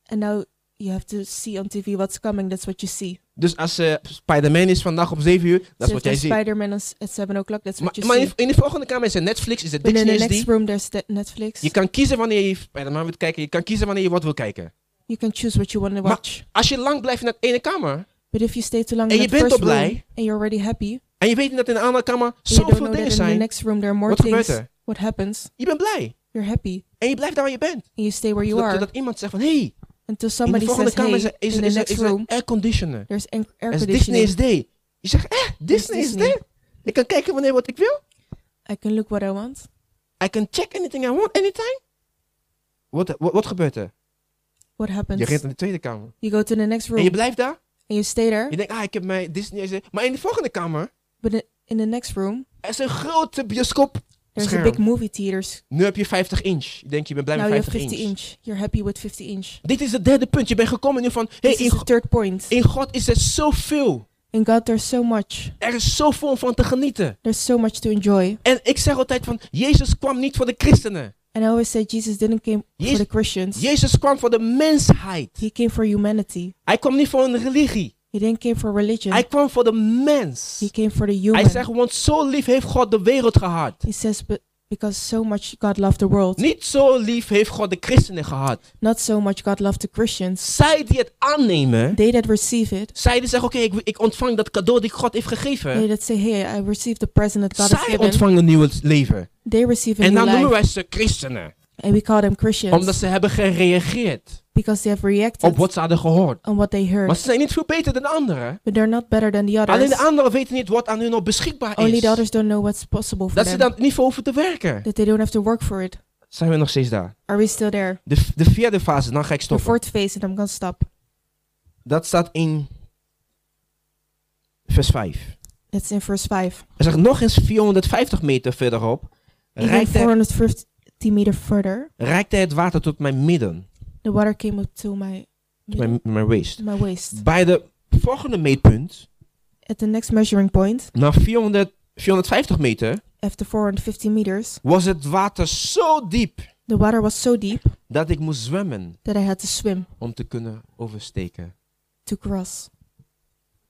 S2: And now you have to see on TV what's coming. That's what you see.
S1: Dus als eh Spider-Man is vandaag om 7 uur, dat
S2: so
S1: is wat
S2: if
S1: jij
S2: there's
S1: ziet.
S2: Spider-Man on s- at 7 o'clock, that's
S1: Maar,
S2: what you
S1: maar in,
S2: see.
S1: in de volgende kamer is er Netflix, is er
S2: But in the
S1: Disney
S2: next
S1: XD.
S2: room, there's the- Netflix.
S1: Je kan kiezen wanneer je Spider-Man wilt kijken, je kan kiezen wanneer je wat wil kijken.
S2: You can choose what you want to
S1: Maar-
S2: watch.
S1: Als je lang blijft in dat ene kamer,
S2: but if you stay too long
S1: En
S2: in
S1: je
S2: the
S1: bent
S2: first
S1: al blij.
S2: room and you're already happy,
S1: en je weet dat in de andere kamer
S2: and you don't
S1: zoveel
S2: know that
S1: dingen
S2: in the
S1: zijn,
S2: next room there are more
S1: wat
S2: things.
S1: gebeurt er?
S2: What happens?
S1: Je bent blij.
S2: You're happy
S1: En je blijft daar waar je bent.
S2: and you stay where you
S1: Zodat,
S2: are
S1: zodat iemand zegt van, hé, hey,
S2: until
S1: in de
S2: somebody
S1: volgende
S2: says, "Hey,
S1: kamer is er, is, er-
S2: in the
S1: is, er-
S2: next
S1: is er
S2: room,
S1: airconditioner.
S2: there's an- air
S1: Er is Disney
S2: conditioning.
S1: XD. Je zegt, eh, Disney
S2: Disney.
S1: XD? Ik kan kijken wanneer wat ik wil.
S2: I can look what I want.
S1: I can check anything I want, anytime. Wat, wat, wat gebeurt er?
S2: What happens?
S1: Je rent in de tweede kamer.
S2: You go to the next room
S1: En je blijft daar.
S2: and you stay there.
S1: Je denkt, ah, ik heb mijn Disney XD. Maar in de volgende kamer
S2: But i- in the next room,
S1: er is een grote bioscoop.
S2: there's
S1: Scherm.
S2: a big Nou, movie theater.
S1: Nu heb je 50 inch. Je denkt, je bent blij
S2: Now
S1: met
S2: you have
S1: 50,
S2: 50 inch.
S1: inch.
S2: You're happy with 50 inch.
S1: Dit is het derde punt. Je bent gekomen nu van, hey,
S2: this
S1: in,
S2: is the third point.
S1: in God is er zoveel.
S2: In God, there's so much.
S1: Er is zoveel om van te genieten.
S2: There's so much to enjoy.
S1: En ik zeg altijd van, Jezus kwam niet voor de christenen.
S2: And I always say Jesus didn't came
S1: Jezus-
S2: for the Christians.
S1: Jezus kwam voor de mensheid.
S2: He came for humanity.
S1: Hij kwam niet voor een religie.
S2: He didn't came for religion.
S1: Hij kwam voor de
S2: he
S1: mens.
S2: came for the human.
S1: Hij zegt, want zo lief heeft God de wereld gehad.
S2: he says, but because so much God loved the world,
S1: Niet zo lief heeft God de christenen gehad.
S2: not so much God loved the Christians.
S1: Zij die het aannemen,
S2: They that receive it,
S1: zij die zeggen, oké, ik, ik ontvang dat cadeau die God heeft
S2: they
S1: gegeven.
S2: that say, hey, I received the present that God has
S1: Zij
S2: given,
S1: ontvangen een nieuw leven.
S2: they receive a
S1: En
S2: new
S1: dan noemen
S2: life.
S1: wij ze christenen.
S2: And we call them Christians
S1: Omdat ze hebben gereageerd
S2: because they have reacted
S1: op wat ze hadden gehoord.
S2: on what they heard.
S1: Maar ze zijn niet veel beter dan anderen.
S2: but they're not better than the others.
S1: Alleen de anderen weten niet wat aan hun nog beschikbaar
S2: Only
S1: is.
S2: the others don't know what's possible for
S1: Dat ze
S2: them.
S1: daar niet voor hoeven te werken.
S2: that they don't have to work for it.
S1: Zijn we nog steeds daar?
S2: Are we still there?
S1: De, de vierde fase, dan ga ik
S2: The
S1: stoppen.
S2: fourth phase, and I'm gonna stop.
S1: Dat staat in vers 5.
S2: That's in verse five.
S1: Hij zegt nog eens 450 meter verderop.
S2: Even
S1: Reikte,
S2: 450 meter further,
S1: reikte het water tot mijn midden.
S2: the water came up to my Mm.
S1: Tot mijn, mijn waist.
S2: to my waist.
S1: Bij de volgende meetpunt,
S2: At the next measuring point,
S1: na 400, 450 meter,
S2: after 450 meters,
S1: was het water zo diep
S2: the water was so deep
S1: dat ik moest zwemmen
S2: that I had to swim
S1: om te kunnen oversteken.
S2: to cross.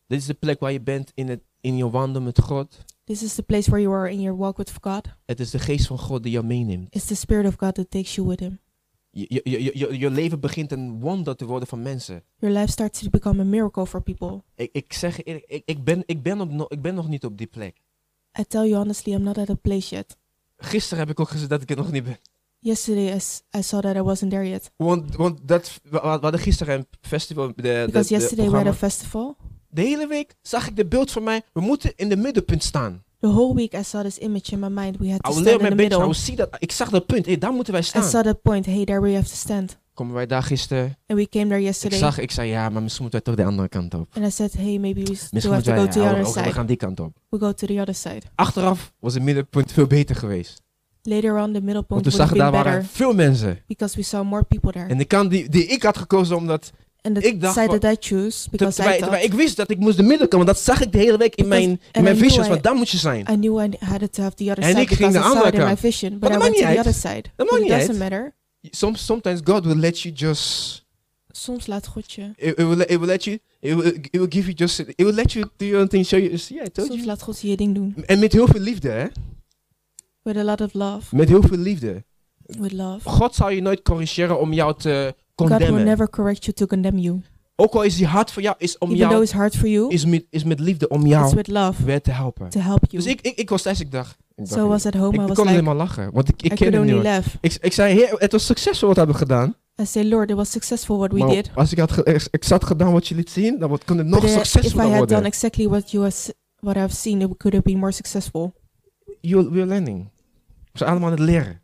S1: Dit is de plek waar je bent in, het, in je wandel met God.
S2: This is the place where you are in your walk with God.
S1: Het is de geest van God die jou meeneemt.
S2: It's the Spirit of God that takes you with Him.
S1: Je, je, je, je, je leven begint een wonder te worden van mensen.
S2: Your life starts to become a miracle for people.
S1: Ik, ik zeg je eerlijk, ik, ik, ben, ik, ben op, no- ik ben nog niet op die plek.
S2: I tell you honestly, I'm not at a place yet.
S1: Gisteren heb ik ook gezegd dat ik er nog niet ben.
S2: Yesterday, I, s- I saw that I wasn't there yet.
S1: Want, want dat, we, we hadden gisteren een festival. De, de,
S2: Because
S1: de
S2: yesterday we had a
S1: programma.
S2: festival.
S1: de hele week zag ik de beeld van mij. We moeten in de middenpunt staan.
S2: The whole week I saw this image in my mind. We had to
S1: I'll
S2: stand
S1: leer
S2: in
S1: mijn
S2: the
S1: beetje. I'll
S2: middle.
S1: see dat, ik zag dat punt. Hey, daar moeten wij
S2: I
S1: staan.
S2: saw that point. Hey, there we have to stand.
S1: Komen wij daar gisteren?
S2: And we came there
S1: Ik
S2: yesterday.
S1: zag, ik zei ja, maar misschien moeten wij toch de andere kant op.
S2: And I said, hey, maybe we s- do
S1: Misschien
S2: have
S1: moeten
S2: to go
S1: wij,
S2: to the
S1: ja,
S2: other
S1: we- we
S2: side.
S1: gaan die kant op.
S2: We'll go to the other side.
S1: Achteraf was het middenpunt veel beter geweest.
S2: Later on, the middle
S1: Want
S2: point
S1: toen zag
S2: would have
S1: ik daar
S2: been better
S1: waren veel mensen.
S2: because we saw more people there.
S1: En de kant die, die ik had gekozen omdat...
S2: And
S1: ik
S2: the
S1: dacht
S2: side
S1: van-
S2: that I
S1: Terwijl,
S2: choose, because I
S1: terwijl
S2: thought
S1: ik wist dat ik moest de midden komen. Want dat zag ik de hele week in
S2: Because-
S1: mijn, in
S2: and
S1: mijn
S2: I knew
S1: visions.
S2: I-
S1: Want daar moet je zijn.
S2: I knew I had it to have the other
S1: En
S2: side
S1: ik ging
S2: because
S1: de
S2: I saw
S1: andere
S2: it in my
S1: kant.
S2: vision,
S1: Maar
S2: but I
S1: dat
S2: went
S1: maakt
S2: to
S1: niet
S2: the
S1: uit.
S2: other side.
S1: Dat
S2: But
S1: maakt
S2: it
S1: niet uit.
S2: doesn't matter.
S1: Soms, sometimes God will let you just...
S2: Soms laat God je.
S1: It, it will, it will let you... It will, it will give you just... It will let you do your own thing. Show you... Yeah, I told
S2: Soms
S1: you.
S2: laat God je je ding doen.
S1: En met heel veel liefde, hè?
S2: With a lot of love.
S1: Met heel veel liefde.
S2: With love.
S1: God zal je nooit corrigeren om jou te
S2: God will
S1: condemnen.
S2: never correct you to condemn you.
S1: Ook al is hij hard voor jou, is om
S2: Even though
S1: jou...
S2: it's hard for you,
S1: Is met, is met liefde om
S2: it's
S1: jou
S2: with love
S1: weer te helpen.
S2: to help you.
S1: Dus ik, ik, ik was thuis, ik dacht... ik dacht,
S2: So I was at home,
S1: ik
S2: I
S1: kon
S2: was
S1: alleen
S2: like,
S1: maar lachen, want ik, ik
S2: I
S1: ken
S2: could
S1: hem
S2: only
S1: niet.
S2: laugh.
S1: Ik, ik zei, heer, het was succesvol wat we hebben gedaan.
S2: I say, Lord, it was successful what we
S1: maar
S2: did.
S1: als ik had, ge- ex- exact gedaan wat je liet zien, dan wordt- kon het
S2: But
S1: nog
S2: uh, if I
S1: succesvoller
S2: had done
S1: worden.
S2: exactly what you has, what I've seen, it could have been more successful.
S1: You're, we're learning. We zijn allemaal aan het leren.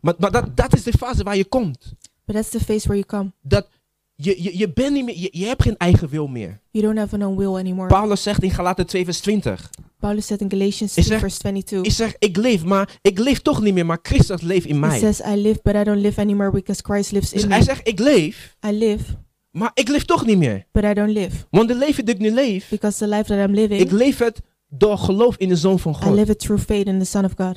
S1: Maar, maar dat, dat is de fase waar je komt.
S2: But that's the phase where you come.
S1: Dat je, je, je, bent niet meer, je, je hebt geen eigen wil meer.
S2: You don't have an own will anymore.
S1: Paulus zegt in Galaten 2 vers 20.
S2: Paulus said in Galatians
S1: Is
S2: 3,
S1: er-
S2: verse 22,
S1: Ik zeg, ik leef, maar ik leef toch niet meer, maar Christus leeft in
S2: He
S1: mij.
S2: says, I live, but I don't live anymore because Christ lives
S1: Dus
S2: in
S1: hij
S2: me.
S1: zegt, ik leef,
S2: I live,
S1: maar ik leef toch niet meer.
S2: but I don't live.
S1: Want de leven dat ik nu leef,
S2: Because the life that I'm
S1: ik
S2: living,
S1: leef het door geloof in de Zoon van
S2: I
S1: God.
S2: live it through faith in the Son of God.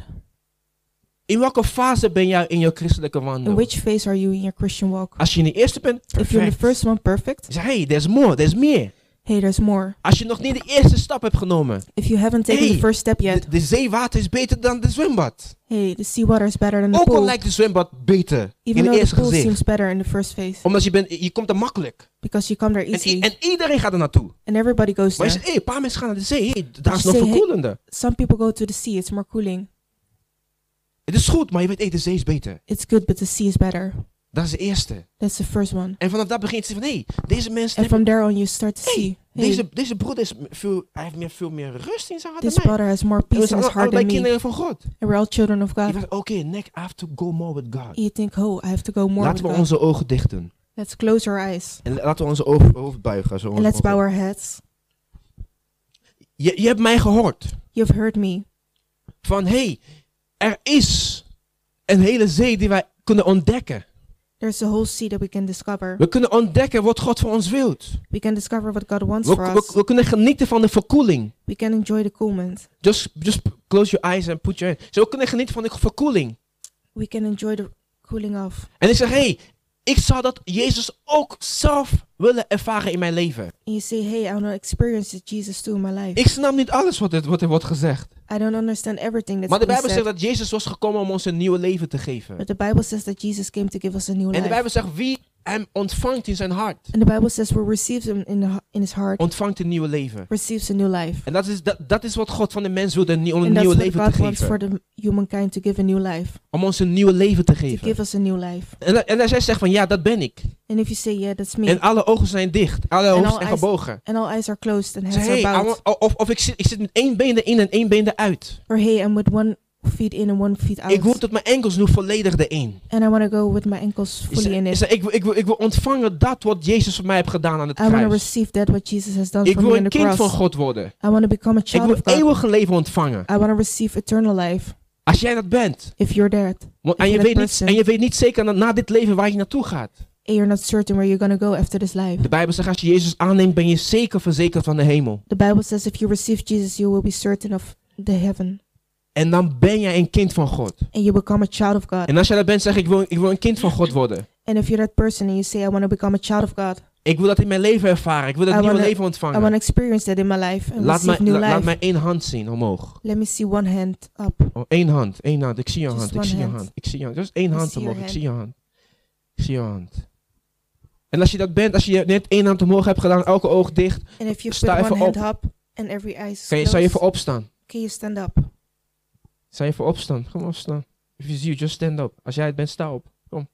S1: In welke fase ben jij in jouw christelijke
S2: In
S1: wandel?
S2: which phase are you in your Christian walk?
S1: Als je in de eerste bent,
S2: If you're in the
S1: perfect.
S2: first one, perfect.
S1: Zeg, hey, there's more, there's meer.
S2: Hey, there's more.
S1: Als je nog niet de eerste stap hebt genomen,
S2: If you haven't taken
S1: Hey,
S2: the first step yet,
S1: de, de zeewater is beter dan de zwembad.
S2: hey, the seawater is better than the
S1: Ook al
S2: pool.
S1: lijkt de zwembad beter
S2: Even
S1: in
S2: though
S1: het
S2: the
S1: eerste
S2: pool
S1: gezicht.
S2: seems better in the first phase,
S1: Omdat je, bent, je komt er makkelijk.
S2: because you come there
S1: En,
S2: easily,
S1: i- en iedereen gaat er naartoe.
S2: and everybody goes
S1: Maar je
S2: there.
S1: zegt, hey, een paar mensen gaan naar de zee. Hey, daar is
S2: je
S1: nog
S2: zegt, hey-
S1: verkoelender.
S2: Some people go to the sea; it's more cooling.
S1: Het is goed, maar je weet, hey, de zee is beter.
S2: It's good, but the sea is better.
S1: Dat is de eerste.
S2: That's the first one.
S1: En vanaf dat begint je te van, hey, deze mensen...
S2: And
S1: hebben-
S2: from there on, you start to see, hey,
S1: Deze, deze broeder is m- veel, hij heeft meer, veel meer rust in zijn hart
S2: this
S1: dan mij.
S2: brother has more
S1: En we
S2: peace in
S1: zijn
S2: his
S1: alle-
S2: heart than
S1: allebei
S2: me.
S1: kinderen van God.
S2: And we're all children of
S1: Je
S2: God.
S1: was, oké, Nick, I have to go more with God.
S2: You think, oh, I have to go more with
S1: Laten we
S2: God.
S1: onze ogen dichten.
S2: Let's close our eyes
S1: En laten we onze oog- hoofd buigen. Zo
S2: and let's
S1: ongeveer.
S2: bow our heads.
S1: je, je hebt mij gehoord.
S2: You've heard me.
S1: Van hey, er is een hele zee die wij kunnen ontdekken.
S2: There's a whole sea that we can discover.
S1: We kunnen ontdekken wat God voor ons wilt.
S2: We can discover what God wants
S1: We,
S2: for
S1: we,
S2: us.
S1: we kunnen genieten van de verkoeling.
S2: We can enjoy the coolment.
S1: Just, just close your eyes and put your hands. Zo we kunnen genieten van de verkoeling.
S2: We can enjoy the cooling off.
S1: En ik zeg hey, ik zou dat Jezus ook zelf willen ervaren in mijn leven.
S2: And you say, hey, I want to experience the Jesus too in my life.
S1: Ik snap niet alles wat, het, wat er wordt gezegd.
S2: I don't understand everything that's
S1: Maar de
S2: being
S1: Bijbel zegt
S2: said.
S1: dat Jezus was gekomen om ons een nieuw leven te geven.
S2: But the Bible says that Jesus came to give us a new
S1: En de
S2: life.
S1: Bijbel zegt, wie en ontvangt in zijn hart.
S2: And the Bible says we receive him in, the, in his heart,
S1: Ontvangt een nieuw leven.
S2: receives a new life.
S1: En dat is, dat, dat is wat God van de mens wil, een nieuw, een
S2: And that's
S1: nieuw
S2: what
S1: leven te
S2: God wants
S1: geven.
S2: for the humankind to give a new life,
S1: Om ons een nieuw leven te
S2: to
S1: geven.
S2: give us a new life.
S1: En, en als jij zegt van ja, dat ben ik.
S2: And if you say, yeah, that's me,
S1: En alle ogen zijn dicht. Alle
S2: En
S1: ogen
S2: al
S1: zijn
S2: eyes-
S1: gebogen.
S2: and all eyes are closed and
S1: Zeg,
S2: heads
S1: hey,
S2: are bowed,
S1: I want- of, of ik, zit, ik zit met één been erin en één been eruit.
S2: or hey, I'm with one feet in and one feet out,
S1: Ik hoef tot mijn enkels nu volledig erin.
S2: and I want to go with my ankles
S1: Ik
S2: fully
S1: zeg-
S2: in
S1: ik
S2: it.
S1: zeg, ik, wil- ik, wil, ik wil ontvangen dat wat Jezus voor mij heeft gedaan aan het
S2: I want to
S1: kruis.
S2: receive that what Jesus has done
S1: Ik
S2: for me
S1: wil
S2: on
S1: een
S2: the
S1: kind
S2: cross.
S1: van God worden.
S2: I want to become a
S1: Ik
S2: child
S1: wil
S2: of God.
S1: eeuwige leven ontvangen.
S2: I want to receive eternal life.
S1: Als jij dat bent.
S2: If you're dead
S1: Want,
S2: Ik
S1: en, je
S2: ben een
S1: weet niet,
S2: person.
S1: en je weet niet zeker na, na dit leven waar je naartoe gaat.
S2: and you're not certain where you're going to go after this life,
S1: De Bijbel zegt, als je Jezus aanneemt, ben je zeker verzekerd van de hemel.
S2: the Bible says if you receive Jesus, you will be certain of the heaven
S1: En dan ben jij een kind van God.
S2: and you become a child of God.
S1: En als jij dat bent, zeg ik wil, ik wil een kind van God worden.
S2: And if you're that person and you say, I want to become a child of God,
S1: Ik wil dat in mijn leven ervaren. Ik wil dat
S2: I
S1: nieuwe
S2: wanna-
S1: leven
S2: I want
S1: ontvangen.
S2: to experience that in my life and
S1: Laat
S2: receive
S1: mij,
S2: new
S1: la- laat
S2: life.
S1: mij één hand zien omhoog.
S2: Let me see one hand up.
S1: Oh, één hand, één hand. Ik zie je
S2: Just
S1: hand. Ik
S2: one
S1: zie je
S2: hand.
S1: hand. Ik zie je hand. Just één
S2: I
S1: hand
S2: see
S1: omhoog.
S2: your
S1: Ik
S2: hand.
S1: zie je hand. Ik zie je hand. En als je dat bent, als je net één hand omhoog hebt gedaan, elke oog dicht,
S2: And if you put
S1: Sta
S2: one
S1: even
S2: hand
S1: op.
S2: up and every eye is
S1: kan je, zou je
S2: closed,
S1: voor opstaan.
S2: can you stand up?
S1: Zou je voor opstaan? Kom opstaan. If you see you, just stand up. Als jij het bent, sta op. Kom.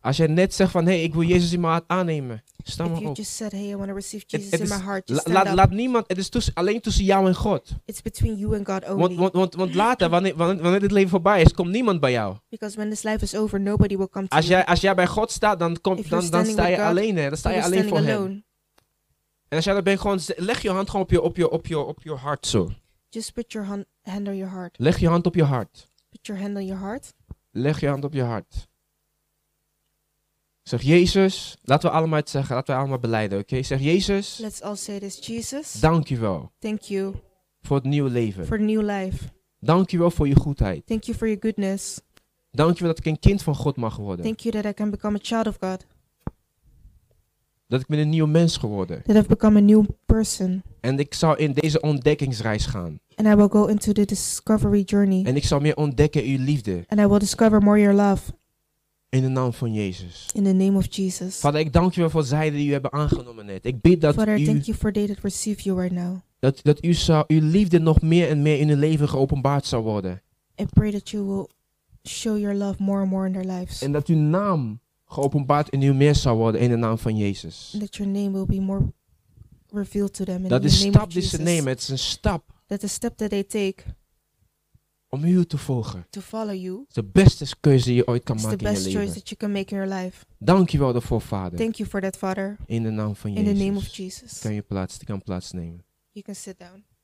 S1: Als jij net zegt van, hé, hey, ik wil Jezus in mijn hart aannemen. Sta
S2: If
S1: maar
S2: you
S1: op.
S2: just said, hey, I want to receive Jesus
S1: het
S2: in my
S1: is-
S2: heart,
S1: La-
S2: just stand
S1: laat,
S2: up.
S1: laat niemand, het is tussen, alleen tussen jou en God.
S2: It's between you and God only.
S1: Want, want, want, want later, wanneer, wanneer, wanneer dit leven voorbij is, komt niemand bij jou.
S2: because when this life is over, nobody will come to
S1: Als
S2: you.
S1: jij, als jij bij God staat, dan,
S2: If
S1: komt,
S2: you're
S1: dan, dan
S2: standing
S1: sta je
S2: with God,
S1: alleen. Hè. Dan sta je
S2: You're
S1: alleen
S2: standing
S1: voor
S2: alone.
S1: hem. En als jij dat bent, gewoon, z- leg je hand gewoon op je, op, je, op, je, op je hart zo.
S2: Just put your hand, hand on your heart.
S1: Leg je hand op je hart.
S2: Put your hand on your heart.
S1: Leg je hand op je hart. Zeg, Jezus, laten we allemaal het zeggen. Laten we allemaal beleiden, oké? Zeg, Jezus,
S2: Let's all say this. Jesus,
S1: dank je wel
S2: thank you
S1: voor het nieuwe leven.
S2: for new life.
S1: Dank je wel voor je goedheid.
S2: Thank you for your goodness.
S1: Dank je wel dat ik een kind van God mag worden.
S2: Thank you that I can become a child of God.
S1: Dat ik ben een nieuw mens geworden.
S2: That I've become a new person.
S1: En ik zal in deze ontdekkingsreis gaan.
S2: And I will go into the discovery journey.
S1: En ik zal meer ontdekken uw liefde.
S2: And I will discover more your love
S1: In de naam van Jezus.
S2: in the name of Jesus.
S1: Vader, ik dank u wel voor zijden die u hebben aangenomen net. Ik bid dat
S2: Father, I
S1: u,
S2: thank you for they that receive you right now.
S1: dat, dat u zou, uw liefde nog meer en meer in hun leven geopenbaard zou worden.
S2: I pray that you will show your love more and more in their lives.
S1: En dat uw naam geopenbaard in uw meer zou worden in de naam van Jezus.
S2: And that your name will be more revealed to them in
S1: Dat
S2: the
S1: is
S2: name
S1: een
S2: of
S1: stap die ze
S2: Jesus.
S1: nemen. Het is een stap
S2: That the step that they take
S1: om u te volgen. Het
S2: to follow you
S1: is de beste keuze die je ooit kan
S2: is the
S1: maken in je
S2: best choice
S1: leven.
S2: that you can make in your life.
S1: Dank je wel daarvoor, Vader.
S2: Thank you for that, Father.
S1: In de naam van
S2: In the name of
S1: Jezus.
S2: Jesus,
S1: Kan je plaats, kan plaatsnemen.
S2: you can sit down.